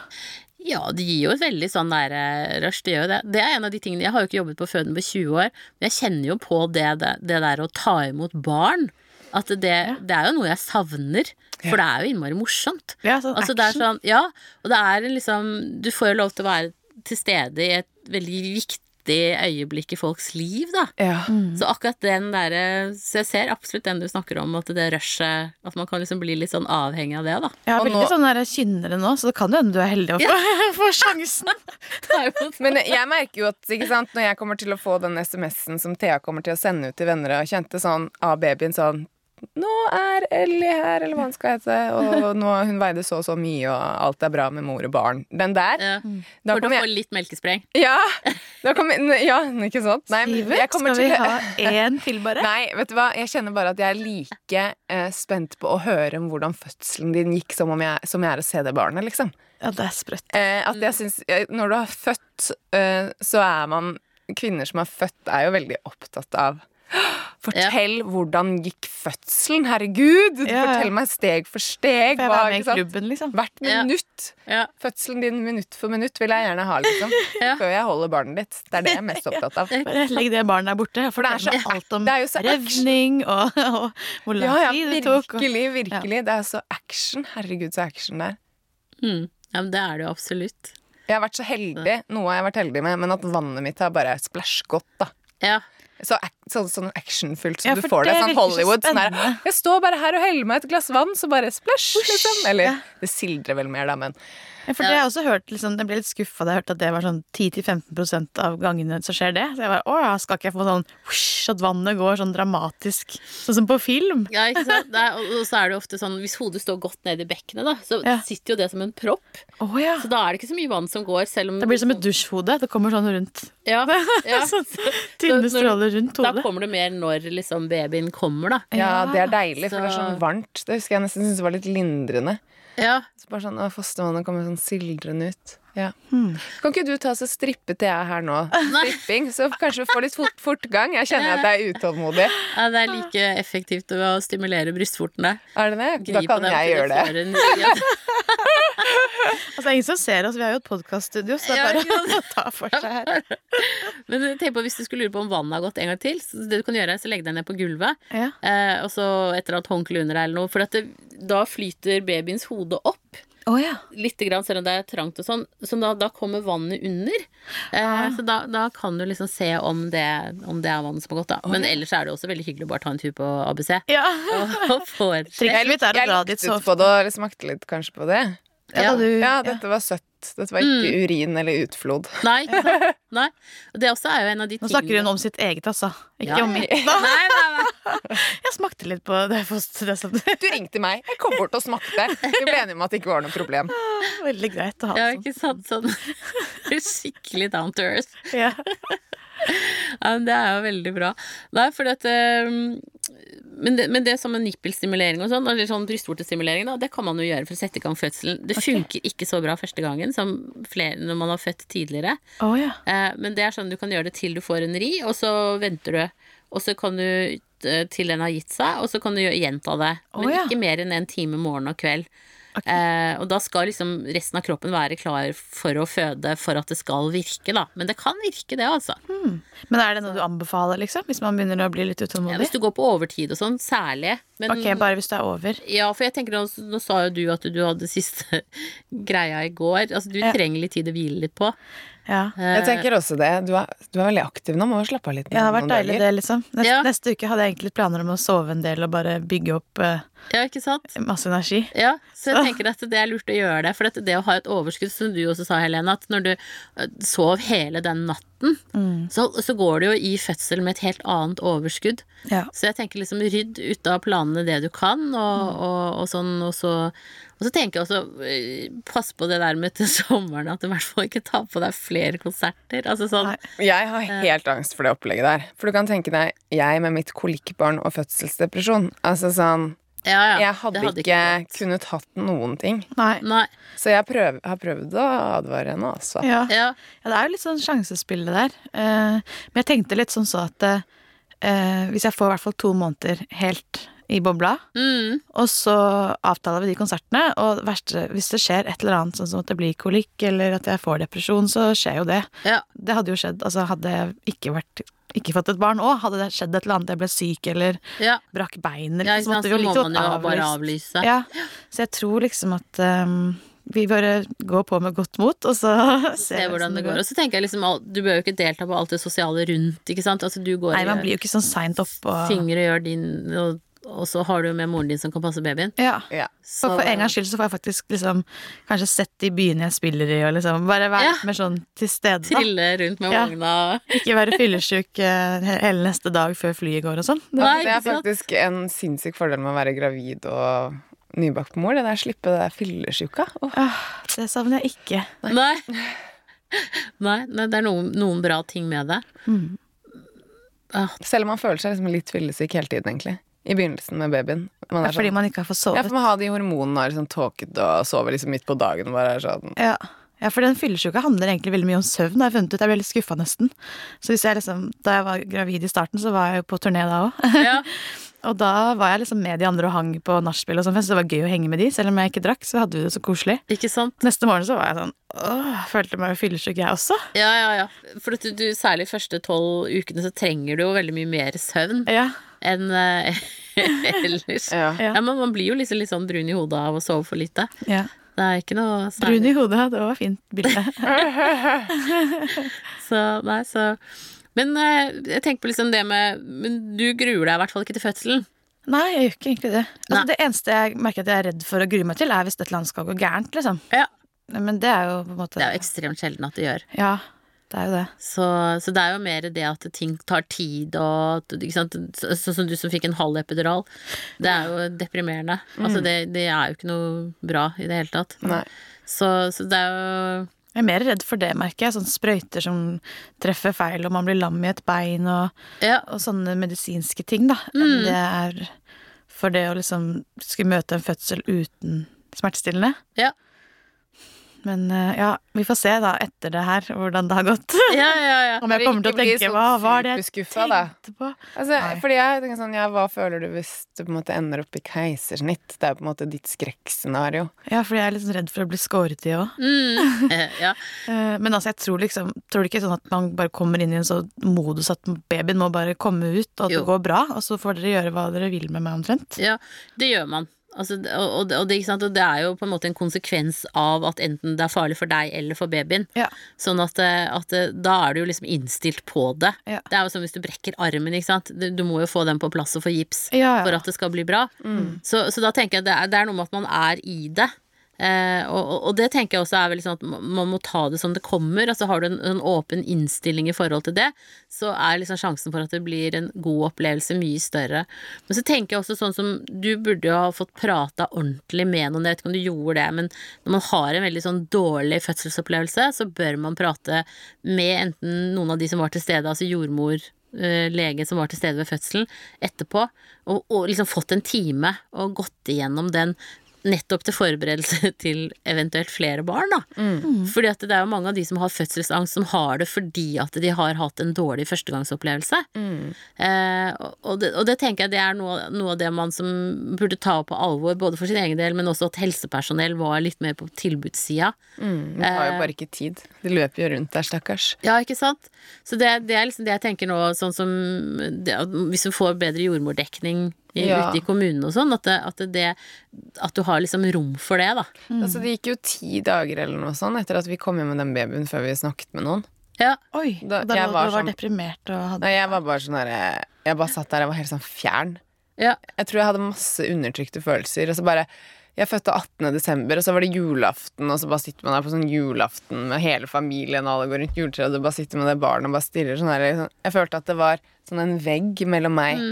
A: Ja, det gir jo et veldig sånn der eh, rush, det gjør jo det. Det er en av de tingene, jeg har jo ikke jobbet på føden på 20 år, men jeg kjenner jo på det, det, det der å ta imot barn. At det, det er jo noe jeg savner, for det er jo innmari morsomt.
B: Ja, sånn
A: Altså, det er
B: action.
A: sånn, ja, og det er en liksom Du får jo lov til å være til stede i et veldig viktig øyeblikk i folks liv, da.
C: Ja.
B: Mm.
A: Så akkurat den derre Så jeg ser absolutt den du snakker om, at det rushet At man kan liksom bli litt sånn avhengig av det, da.
B: Jeg har
C: Og
B: veldig
C: nå-
B: sånn der kynnere nå, så det kan jo hende du er heldig å få, få sjansen.
A: Ta imot
C: Men jeg merker jo at ikke sant, når jeg kommer til å få den SMS-en som Thea kommer til å sende ut til venner og kjente sånn av babyen sånn Nå er Ellie her, eller hva hun skal hete, og nå hun veide så og så mye, og alt er bra med mor og barn. Den der.
A: ja.
B: Mm.
C: Da
A: For du
C: kommer
A: får
C: jeg
A: litt melkespreng.
C: Ja! Da kommer ja, ikke sant? Nei, men
B: Livet,
C: jeg kommer
B: skal vi
C: til å-
B: ha én til, bare?
C: Nei, vet du hva? Jeg kjenner bare at jeg er like eh, spent på å høre om hvordan fødselen din gikk, som, om jeg, som jeg er å se det barnet, liksom.
B: Ja, det er sprøtt.
C: Eh, at
B: Mm.
C: jeg synes, eh, når du har født, eh, så er man Kvinner som har født, er jo veldig opptatt av Fortell hvordan gikk fødselen, herregud!
B: Ja, ja.
C: Fortell meg steg for steg.
B: Får jeg være
C: hva-
B: med
C: ikke
B: i
C: sant?
B: klubben, liksom?
C: Hvert
A: Ja.
C: minutt.
A: Ja.
C: Fødselen din minutt for minutt vil jeg gjerne ha, liksom.
A: Ja.
C: Før jeg holder barnet ditt. Det er det jeg er mest opptatt av.
B: Bare legg det barnet der borte. For det er
C: det er
B: så alt om
C: det er jo så
B: revning og, og hvor lang
C: Ja, ja,
B: tid det tok. Og,
C: virkelig, virkelig. Det er så action. Herregud, så action det er.
A: Mm. Ja, men det er det jo absolutt.
C: Jeg har
B: Mm.
C: vært så heldig, noe jeg har vært heldig med, men at vannet mitt har bare splæsj godt, da.
A: Ja.
C: Så ac- sånn, sånn actionfullt som
B: Ja,
C: du
B: for
C: får det
B: det
C: fra
B: virker så
C: Hollywood. Sånn her,
B: spennende.
C: jeg står bare her og heller meg et glass vann, så bare splæsj, liksom. Eller
B: ja.
C: det sildrer vel mer, da, men
B: Ja, For det har jeg også hørt, liksom, jeg ble litt skuffa da jeg hørte at det var sånn 10-15 av gangene så skjer det. Så jeg bare, å ja, skal ikke jeg få sånn whoosh, at vannet går sånn dramatisk, sånn som på film?
A: Ja, ikke sant? Det er, og så er det jo ofte sånn, Hvis hodet står godt ned i bekkenet, da, så
B: Ja.
A: sitter jo det som en propp.
B: Å ja.
A: Så da er det ikke så mye vann som går. Selv om
B: Det blir som et dusjhode. Det kommer sånn rundt.
A: ja, ja.
B: Sånn
A: når-
B: Tynne stråler rundt
A: Da
B: hodet.
A: kommer det mer når liksom, babyen kommer, da.
C: ja, det er deilig, for
B: altså.
C: det er
A: så-
C: sånn varmt. Det husker jeg nesten syntes var litt lindrende.
A: Ja.
C: Så bare sånn, å, Fostervannet kommer sånn sildrende ut. Ja.
B: Hmm.
C: Kan ikke du ta så strippe til jeg er her nå? Stripping, så kanskje vi får litt fort, fortgang. Jeg kjenner at jeg er utålmodig.
A: ja, Det er like effektivt å stimulere brystvortene.
C: Er det det? Da
A: Gripe
C: kan
A: dem
C: jeg
A: til
C: gjøre det.
A: får en- ja,
B: Altså, det er ingen som ser oss, vi har jo et podkaststudio, så det
A: Ja,
B: er bare å ta for seg her.
A: Men tenk på, hvis du skulle lure på om vannet har gått en gang til, så det du kan gjøre er så legge deg ned på gulvet,
B: Ja.
A: eh, og så etter at håndkle under deg eller noe, for at det, da flyter babyens hode opp.
B: Å ja.
A: Litt, grann, selv om det er trangt og sånn. Så da, da kommer vannet under. Eh,
B: Ah.
A: Så da, da kan du liksom se om det, om det er vannet som har gått, da. Men ellers er det også veldig hyggelig å bare ta en tur på ABC.
B: ja.
A: Og, og få et sjekk.
B: Trikset mitt er å
C: jeg
B: dra dit så
C: luktet
B: ofte.
C: på det og liksom akte litt kanskje på det.
B: Ja, da du,
C: Ja,
B: ja. Hmm.
C: dette var søtt. Dette var ikke urin eller utflod.
A: Nei, ikke sant? Nei. Og det også er jo en av de
B: Nå snakker hun om sitt eget, altså. Ikke
A: Ja.
B: om mitt.
A: Nei, nei, nei.
B: Jeg smakte litt på det. foster- det sånn. som-
C: Du ringte meg, jeg kom bort og smakte. Vi ble enige om at det ikke var noe problem.
B: Veldig greit å ha
A: Ja,
B: det sånn.
A: ikke sant? Sånn skikkelig down to earth.
B: sånn. Ja.
A: Ja, men det er jo veldig bra. Nei, fordi at ehm, men det, men det som en nippelstimulering og sånn, eller sånn brystvortestimulering, da, det kan man jo gjøre for å sette i gang fødselen. Det funker ikke så bra første gangen som flere, når man har født tidligere.
B: Å ja.
A: Eh, men det er sånn du kan gjøre det til du får en ri, og så venter du. Og så kan du eh, til den har gitt seg, og så kan du gjø- gjenta det. Men
B: Å, ja.
A: ikke mer enn en time morgen og kveld.
B: Ok.
A: Eh, og da skal liksom resten av kroppen være klar for å føde for at det skal virke, da. Men det kan virke, det, altså.
B: Men er det noe du anbefaler, liksom? Hvis man begynner å bli litt
A: Ja,
B: utålmodig?
A: hvis du går på overtid og sånn, særlig. Men,
B: Ok, bare hvis det er over.
A: Ja, for jeg tenker nå, nå sa jo du at du hadde siste greia i går. Altså, du
B: Ja.
A: trenger litt tid å hvile litt på.
B: Ja.
A: Eh,
C: Jeg tenker også det. Du er, du er veldig aktiv nå, må jo slappe av litt.
B: Ja, det har
C: noen
B: vært deilig,
C: dager.
B: det, liksom. Neste,
A: Ja.
B: neste uke hadde jeg egentlig planer om å sove en del og bare bygge opp eh,
A: Ja, ikke sant?
B: masse energi.
A: Ja, så jeg tenker at det er lurt å gjøre det. For at det å ha et overskudd, som du også sa, Helene, at når du eh, sov hele den natten, så, så går du jo i fødsel med et helt annet overskudd.
B: Ja.
A: Så jeg tenker liksom rydd ut av planene det du kan, og, og, og sånn, og så Og så tenker jeg også eh, pass på det der med til sommeren, at du i hvert fall ikke tar på deg flere konserter. Altså sånn
B: Nei.
C: Jeg har helt angst for det opplegget der. For du kan tenke deg, jeg med mitt kolikkbarn og fødselsdepresjon. Altså sånn
A: Ja, ja.
C: Jeg
A: det
C: hadde, ikke
A: gått.
C: kunnet hatt noen ting.
B: Nei.
A: Nei.
C: Så jeg prøv, har prøvd å advare henne, altså.
B: Ja.
A: Ja.
B: ja, det er jo litt sånn sjansespill det der. Eh, men jeg tenkte litt sånn så at eh, hvis jeg får i hvert fall to måneder helt i bobla,
A: Mm.
B: og så avtaler vi de konsertene, og det verste, hvis det skjer et eller annet, sånn som at det blir kolikk eller at jeg får depresjon, så skjer jo det.
A: Ja.
B: Det hadde jo skjedd, altså hadde jeg ikke vært ikke fått et barn òg, hadde det skjedd et eller annet, jeg ble syk eller
A: ja.
B: brakk beinet,
A: ja ikke
B: liksom,
A: sant?
B: måtte
A: Så
B: vi jo
A: må
B: like
A: man
B: godt
A: jo bare
B: avlyst.
A: avlyse.
B: Ja. Så jeg tror liksom at ehm, vi bare går på med godt mot, og så ser
A: Se
B: vi
A: hvordan det går. Og så tenker jeg liksom, al- Du bør jo ikke delta på alt det sosiale rundt. ikke sant? Altså, du går
B: Nei, man
A: og
B: blir jo ikke sånn seint oppå
A: synger og gjør din, og, og så har du jo med moren din som kan passe babyen.
B: ja.
C: Ja.
A: Så,
B: Og for en gangs skyld så får jeg faktisk liksom kanskje sett de byene jeg spiller i, og liksom bare være
A: Ja.
B: litt mer sånn til stede. Da.
A: Trille rundt med
B: Ja.
A: vogna.
B: Ikke være fyllesyk eh, he- hele neste dag før flyet går og sånn. Det-
A: Nei,
C: Det
A: ikke
C: er
A: sant?
C: faktisk en sinnssyk fordel med å være gravid og nybakt mor. Det der slippe det der fyllesyka. Åh.
B: Ah, Det savner jeg ikke.
A: Nei. Nei, nei, det er noen, noen bra ting med det.
B: Mm.
C: Selv om man føler seg liksom litt fyllesyk hele tiden, egentlig. I begynnelsen med babyen. Man
B: Det
C: er
B: er fordi
C: sånn,
B: man ikke har fått sovet.
C: ja, for man har de hormonene og er liksom tåkete og sover liksom midt på dagen. og Bare er sånn.
B: Ja. ja, for den fyllesyka handler egentlig veldig mye om søvn. har Jeg funnet ut, jeg ble litt skuffa nesten. Så hvis jeg liksom, Da jeg var gravid i starten, så var jeg jo på turné da òg.
A: Ja.
B: og da var jeg liksom med de andre og hang på nachspiel og sånn fest. så Det var gøy å henge med de, selv om jeg ikke drakk. Så hadde vi det så koselig.
A: Ikke sant?
B: Neste morgen så var jeg sånn åh, jeg følte meg jo fyllesyk jeg også.
A: Ja, ja, ja. For at du, du, særlig de første tolv ukene så trenger du jo veldig mye mer søvn
B: Ja,
A: enn eh, ellers. Ja.
C: Ja.
B: ja,
A: men man blir jo liksom litt sånn brun i hodet av å sove for lite.
B: ja.
A: Det er ikke noe
B: Brun
A: særlig.
B: i hodet, det var fint bilde.
A: Så, nei, så Men eh, jeg tenker på liksom det med Men du gruer deg i hvert fall ikke til fødselen.
B: Nei, jeg gjør ikke egentlig det. Altså,
A: Nei.
B: det eneste jeg merker at jeg er redd for å grue meg til, er hvis et eller annet skal gå gærent, liksom.
A: Ja.
B: Men det er jo på en måte
A: Det er jo ekstremt sjelden at det gjør.
B: Ja, det er jo det.
A: Så, så det er jo mer det at ting tar tid og at- ikke sant? Så- Sånn som du som fikk en halv epidural. Det er jo deprimerende. Altså det, det er jo ikke noe bra i det hele tatt.
C: Nei.
A: Så, så det er jo
B: Jeg er mer redd for det, merker jeg. Sånne sprøyter som treffer feil, og man blir lam i et bein, og,
A: Ja.
B: og sånne medisinske ting, da. Det er for det å liksom skulle møte en fødsel uten smertestillende.
A: Ja.
B: Men eh, ja, vi får se da etter det her hvordan det har gått.
A: Ja, ja, ja.
B: Om jeg
C: For
B: kommer til å
C: ikke bli
B: tenke
C: så
B: hva var det jeg
C: superskuffa, da.
B: tenkte på?
C: Altså,
B: Nei.
C: fordi jeg tenker sånn, ja, Hva føler du hvis du på en måte ender opp i keisersnitt? Det er på en måte ditt skrekkscenario.
B: Ja, fordi jeg er litt sånn redd for å bli skåret i òg.
A: Mm. Eh, ja.
B: Men altså, jeg tror liksom Tror du ikke sånn at man bare kommer inn i en sånn modus at babyen må bare komme ut, og at
A: Jo.
B: det går bra, og så får dere gjøre hva dere vil med meg, omtrent?
A: Ja, det gjør man. Altså, det- og, og, det- og, det, ikke sant? og det er jo på en måte en konsekvens av at enten det er farlig for deg eller for babyen.
B: Ja.
A: Sånn at, eh, at eh, da er du jo liksom innstilt på det.
B: Ja.
A: Det er jo som hvis du brekker armen, ikke sant. Du, du må jo få den på plass og få gips
B: Ja, ja. Mm.
A: for at det skal bli bra. Så, så da tenker jeg at det er, det er noe med at man er i det. Eh, og, og- og det tenker jeg også er veldig sånn at ma- man må ta det som det kommer. Altså Har du en, en åpen innstilling i forhold til det, så er liksom sjansen for at det blir en god opplevelse mye større. Men så tenker jeg også sånn som Du burde jo ha fått prata ordentlig med noen. Jeg vet ikke om du gjorde det, men når man har en veldig sånn dårlig fødselsopplevelse, så bør man prate med enten noen av de som var til stede, altså jordmor, eh, lege som var til stede ved fødselen, etterpå, og, og liksom fått en time og gått igjennom den. Nettopp til forberedelse til eventuelt flere barn. Da. Fordi at det er jo mange av de som har fødselsangst, som har det fordi at de har hatt en dårlig førstegangsopplevelse. Eh, og, og det, og det tenker jeg det er noe, noe av det man som burde ta på alvor, både for sin egen del, men også at helsepersonell var litt mer på tilbudssida.
C: Det tar jo bare ikke tid. Det løper jo rundt der, stakkars.
A: Ja, ikke sant? Så det, det er liksom det jeg tenker nå, sånn som det, at hvis du får bedre jordmordekning i,
C: Ja.
A: ute i kommunene og sånn, at, det, at, det, at du har liksom rom for det, da.
C: Altså, det gikk jo ti dager eller noe sånn etter at vi kom hjem med den babyen før vi snakket med noen.
A: Ja,
B: Oi,
C: Da-
B: da, da
C: jeg
B: lå-
C: var
B: du var
C: sånn-
B: deprimert og hadde
C: Nei, jeg var bare sånn der, Jeg bare satt der, jeg var helt sånn fjern.
A: ja,
C: Jeg tror jeg hadde masse undertrykte følelser. Og så bare Jeg fødte 18. desember, og så var det julaften, og så bare sitter man der på sånn julaften med hele familien, og alle går rundt juletreet, og du bare sitter med det barnet og bare stirrer sånn her. liksom. Jeg følte at det var sånn en vegg mellom meg.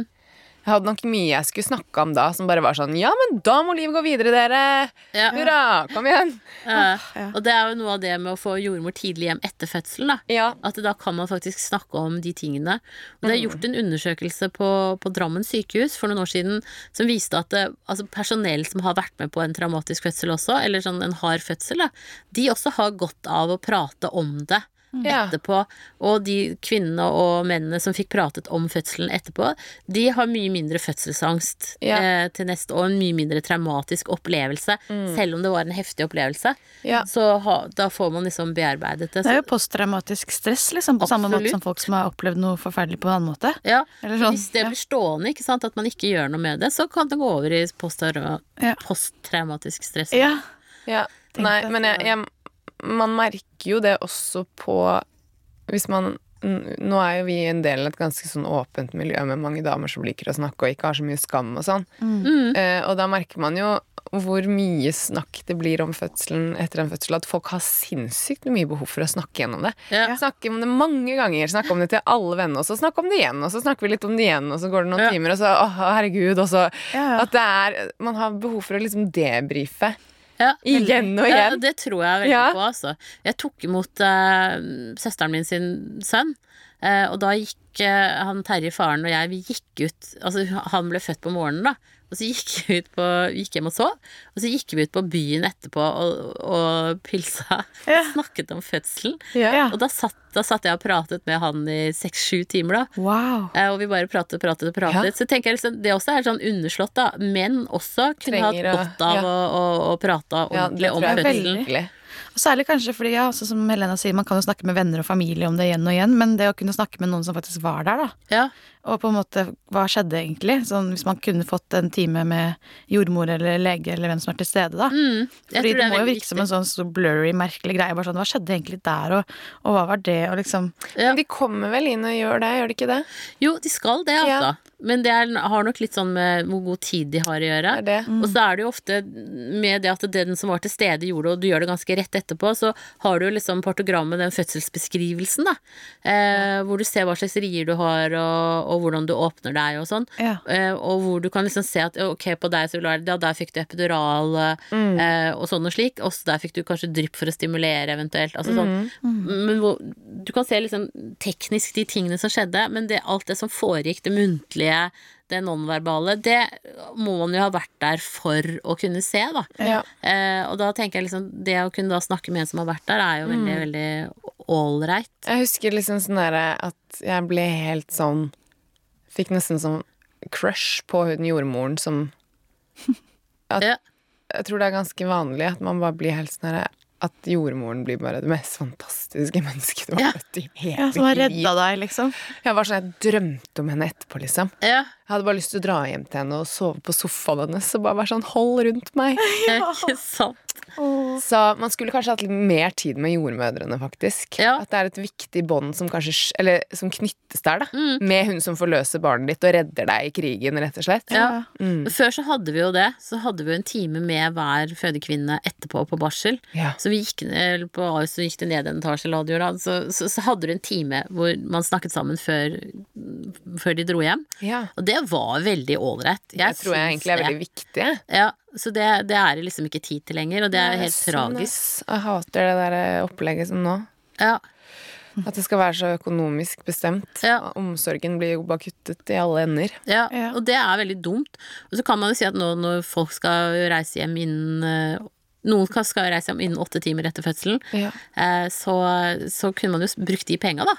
C: Jeg hadde nok mye jeg skulle snakke om da, som bare var sånn Ja, men da må livet gå videre, dere!
A: ja.
C: Hurra! Kom igjen!
A: Eh,
B: ja.
A: Og det er jo noe av det med å få jordmor tidlig hjem etter fødselen, da.
C: Ja.
A: At da kan man faktisk snakke om de tingene. Og det er gjort en undersøkelse på, på Drammen sykehus for noen år siden som viste at eh, altså personell som har vært med på en traumatisk fødsel også, eller sånn en hard fødsel, da, de også har godt av å prate om det.
C: Ja.
A: Etterpå. Og de kvinnene og mennene som fikk pratet om fødselen etterpå, de har mye mindre fødselsangst
C: Ja.
A: eh, til neste år. En mye mindre traumatisk opplevelse, selv om det var en heftig opplevelse.
C: Ja.
A: Så ha, da får man liksom bearbeidet det.
B: Det
A: Så,
B: er jo posttraumatisk stress, liksom, på samme måte
A: Absolutt.
B: som folk som har opplevd noe forferdelig på en annen måte.
A: ja.
B: Eller sånn.
A: Hvis det blir stående, ikke sant, at man ikke gjør noe med det, så kan det gå over i posttrauma-
B: Ja.
A: posttraumatisk stress.
B: Ja.
C: Ja,
B: Tenkte
C: nei,
B: at
C: men
B: det
C: jeg, jeg, man merker jo det også på Hvis man n- Nå er jo vi en del av et ganske sånn åpent miljø med mange damer som liker å snakke og ikke har så mye skam og sånn.
A: Mm.
B: Mm.
C: Eh, og da merker man jo hvor mye snakk det blir om fødselen etter en fødsel. At folk har sinnssykt mye behov for å snakke gjennom det.
A: Ja.
C: Snakke om det mange ganger, snakke om det til alle vennene, og så snakke om det igjen, og så snakker vi litt om det igjen, og så går det noen
A: Ja.
C: timer, og så å, herregud, og så
B: Ja, ja.
C: At det er Man har behov for å liksom debrife.
A: Ja, veldig.
C: Igjen og igjen.
A: Ja, det tror jeg veldig
C: Ja.
A: på, altså. Jeg tok imot eh, søsteren min sin sønn, eh, og da gikk eh, han Terje, faren og jeg, vi gikk ut Altså, han ble født på morgenen, da. Og så gikk vi ut på, gikk hjem og sov, og så gikk vi ut på byen etterpå og, og pilsa.
B: Ja.
A: Snakket om fødselen.
B: Ja.
A: Og da satt, da satt jeg og pratet med han i seks-sju timer, da.
B: Wow.
A: Eh, Og vi bare pratet og pratet og pratet.
C: Ja.
A: Så tenker jeg liksom, Det også er sånn underslått, da. Menn også kunne hatt
C: Trenger å-
A: godt av
C: ja.
A: å, å, å prate
C: Ja,
A: ordentlig
C: det
A: om
C: tror jeg
A: fødselen.
C: virkelig.
B: Og særlig kanskje fordi, ja, sånn som Helena sier, man kan jo snakke med venner og familie om det igjen og igjen, men det å kunne snakke med noen som faktisk var der, da,
A: Ja.
B: og på en måte hva skjedde egentlig, sånn hvis man kunne fått en time med jordmor eller lege eller hvem som er til stede, da.
A: Mm, jeg
B: Fordi
A: tror
B: det
A: er
B: må jo
A: veldig
B: virke som en sånn så blurry, merkelig greie. Bare sånn, Hva skjedde egentlig der, og, og hva var det, og liksom
A: Ja.
C: Men de kommer vel inn og gjør det, gjør de ikke det?
A: Jo, de skal det,
C: Ja.
A: altså. Men det er, har nok litt sånn med hvor god tid de har å gjøre.
C: Det Mm. er det.
A: Og så er det jo ofte med det at den som var til stede gjorde det, og du gjør det ganske rett etterpå, så har du jo liksom partogrammet, den fødselsbeskrivelsen, da. Eh, hvor du ser hva slags rier du har, og, og hvordan du åpner deg og sånn.
B: Ja.
A: Eh, og hvor du kan liksom se at ok, på deg så var det, ja, der fikk du epidural eh, og sånn og slik. Også der fikk du kanskje drypp for å stimulere eventuelt. Altså sånn. Men hvor, du kan se liksom teknisk de tingene som skjedde, men det, alt det som foregikk, det muntlige, det nonverbale, det må man jo ha vært der for å kunne se, da.
C: Ja.
A: Eh, og da tenker jeg liksom, det å kunne da snakke med en som har vært der, er jo veldig, veldig ålreit.
C: Jeg husker liksom sånn der at jeg ble helt sånn Fikk nesten sånn crush på hun jordmoren som at,
A: Ja.
C: Jeg tror det er ganske vanlig at man bare blir helt sånn her At jordmoren blir bare det mest fantastiske mennesket du har
A: Ja.
C: møtt i hele
B: ja, Som har
C: ditt
B: redda deg, liksom.
C: liv. Jeg var sånn, jeg drømte om henne etterpå, liksom.
A: Ja.
C: Jeg hadde bare lyst til å dra hjem til henne og sove på sofaen hennes og bare være sånn Hold rundt meg.
A: Ikke sant?
C: Så man skulle kanskje hatt litt mer tid med jordmødrene, faktisk.
A: Ja.
C: At det er et viktig bånd som, kanskje sk- eller som knyttes der, da.
A: Mm.
C: Med hun som forløser barnet ditt og redder deg i krigen, rett og slett.
A: Ja. Før så hadde vi jo det. Så hadde vi jo en time med hver fødekvinne etterpå på barsel.
C: Ja.
A: Så vi gikk, eller på AUS så gikk det ned en etasje, eller hva det gjorde, da. så, så, så hadde du en time hvor man snakket sammen før, før de dro hjem.
C: Ja.
A: Og det var veldig ålreit.
C: Det tror jeg egentlig er veldig viktig. jeg.
A: Ja, så det, det er det liksom ikke tid til lenger, og det er
C: Det er
A: helt
C: sånn,
A: tragisk.
C: ass. Jeg hater det der eh, opplegget som nå.
A: Ja,
C: At det skal være så økonomisk bestemt.
A: Ja.
C: Omsorgen blir jo bare kuttet i alle ender.
A: ja.
B: Ja.
A: Og det er veldig dumt. Og så kan man jo si at nå når folk skal reise hjem innen eh, Noen skal- skal reise hjem innen åtte timer etter fødselen, eh, så, så kunne man jo s- brukt de penga, da.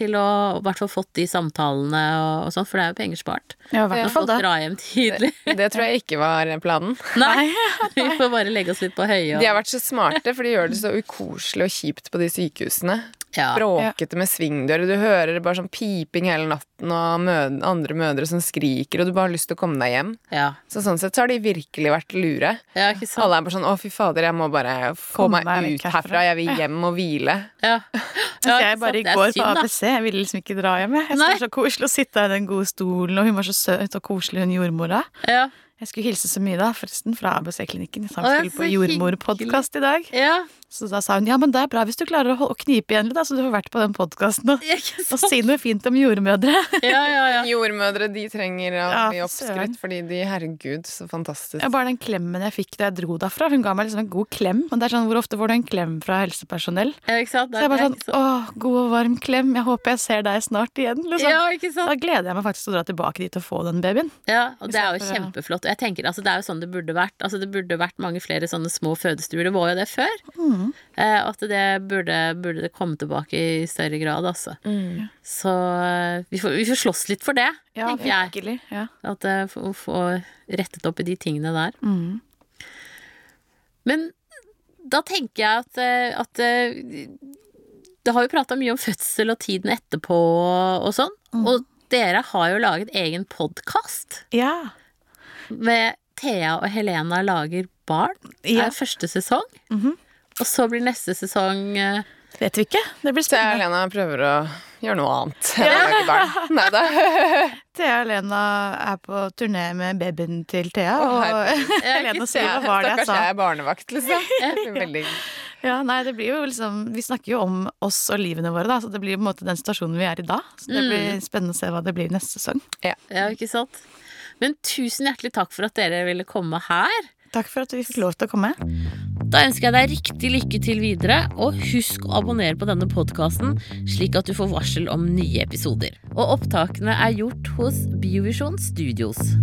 A: Til å i hvert fall fått de samtalene og, og sånn, for det er jo penger spart.
B: Ja, i hvert
A: Når
B: fall
A: folk
B: da.
A: drar hjem tidlig.
C: Det tror jeg ikke var planen.
A: Nei, vi får bare legge oss litt på høye.
C: De har
A: Og,
C: vært så smarte, for de gjør det så ukoselig og kjipt på de sykehusene.
A: ja.
C: bråkete med svingdører. Du hører bare sånn piping hele natten og mød andre mødre som skriker, og du bare har lyst til å komme deg hjem.
A: Ja.
C: Så sånn sett så har de virkelig vært lure.
A: ja, ikke sant.
C: Alle er bare sånn 'Å, fy fader, jeg må bare få
B: Komme
C: meg
B: meg
C: ut
B: vekk
C: herfra. Jeg vil hjem og hvile'.
A: Ja.
B: Ja,
A: Ja,
B: jeg
A: ikke
B: bare i
A: sant? Det er
B: går på
A: synd, da.
B: ABC. Jeg ville liksom ikke dra hjem. jeg. Jeg
A: Nei.
B: synes det var så koselig å sitte her i den gode stolen, og hun var så søt og koselig, hun jordmora.
A: Ja.
B: Jeg skulle hilse så mye, da, forresten, fra ABC-klinikken. Jeg sa
A: Å, ja,
B: vi skulle på
A: så
B: jordmorpodkast i dag.
A: ja.
B: Så da sa hun ja, men det er bra hvis du klarer å hol- å knipe igjen litt, da, så du får vært på den podkasten og,
A: Ja, Ikke
B: og
A: sant.
B: si noe fint om jordmødre.
A: Ja, ja, ja.
C: Jordmødre, de trenger å
B: Ja,
C: bli
B: for
C: oppskrytt, fordi de Herregud, så fantastisk.
B: Ja, bare den klemmen jeg fikk da jeg dro derfra, hun ga meg liksom en god klem. Men det er sånn, hvor ofte får du en klem fra helsepersonell?
A: Ja, Ikke sant.
B: Så jeg bare
A: Det liksom. er
B: sånn,
A: ikke sant.
B: åh, god og varm klem, jeg håper jeg ser deg snart igjen, liksom.
A: Ja, ikke sant.
B: Da gleder jeg meg faktisk til å dra tilbake dit og få den babyen.
A: Ja, og det er jo
B: Istedenfor å-
A: kjempeflott. Og jeg tenker, altså, det er jo sånn det burde vært. Altså, det burde vært mange flere sånne små fødestuer. Det var jo det før.
B: Mm.
A: Eh, at det burde, burde det komme tilbake i større grad, altså.
C: Mm.
B: Mm.
A: Så eh, vi får, vi får slåss litt for det, tenker jeg.
B: virkelig. Ja.
A: At eh, jeg får får rettet opp i de tingene der.
B: Mhm.
A: Men da tenker jeg at, eh, at eh, Det har jo prata mye om fødsel og tiden etterpå og, og sånn. Og dere har jo laget egen podkast
B: Ja.
A: med Thea og Helena lager barn. Det
B: Ja.
A: er første sesong. Og så blir neste sesong eh,
B: Vet vi ikke. Det blir
C: Så jeg og
B: spennende.
C: Lena prøver å gjøre noe annet. Nei da.
B: Thea og Lena er på turné med babyen til Thea,
C: Å,
B: og Helena sier hva var det jeg
C: Stakkars
B: sa?
C: jeg er barnevakt, liksom. Veldig
B: Ja, nei, det blir jo liksom Vi snakker jo om oss og livene våre, da, så det blir jo på en måte den situasjonen vi er i da. Så
A: Mm.
B: det blir spennende å se hva det blir neste sesong.
A: Ja, ikke sant? Men tusen hjertelig takk for at dere ville komme her.
B: Takk for at vi fikk lov til å komme.
A: Da ønsker jeg deg riktig lykke til videre, og husk å abonnere på denne podkasten, slik at du får varsel om nye episoder. Og opptakene er gjort hos Biovisjon Studios.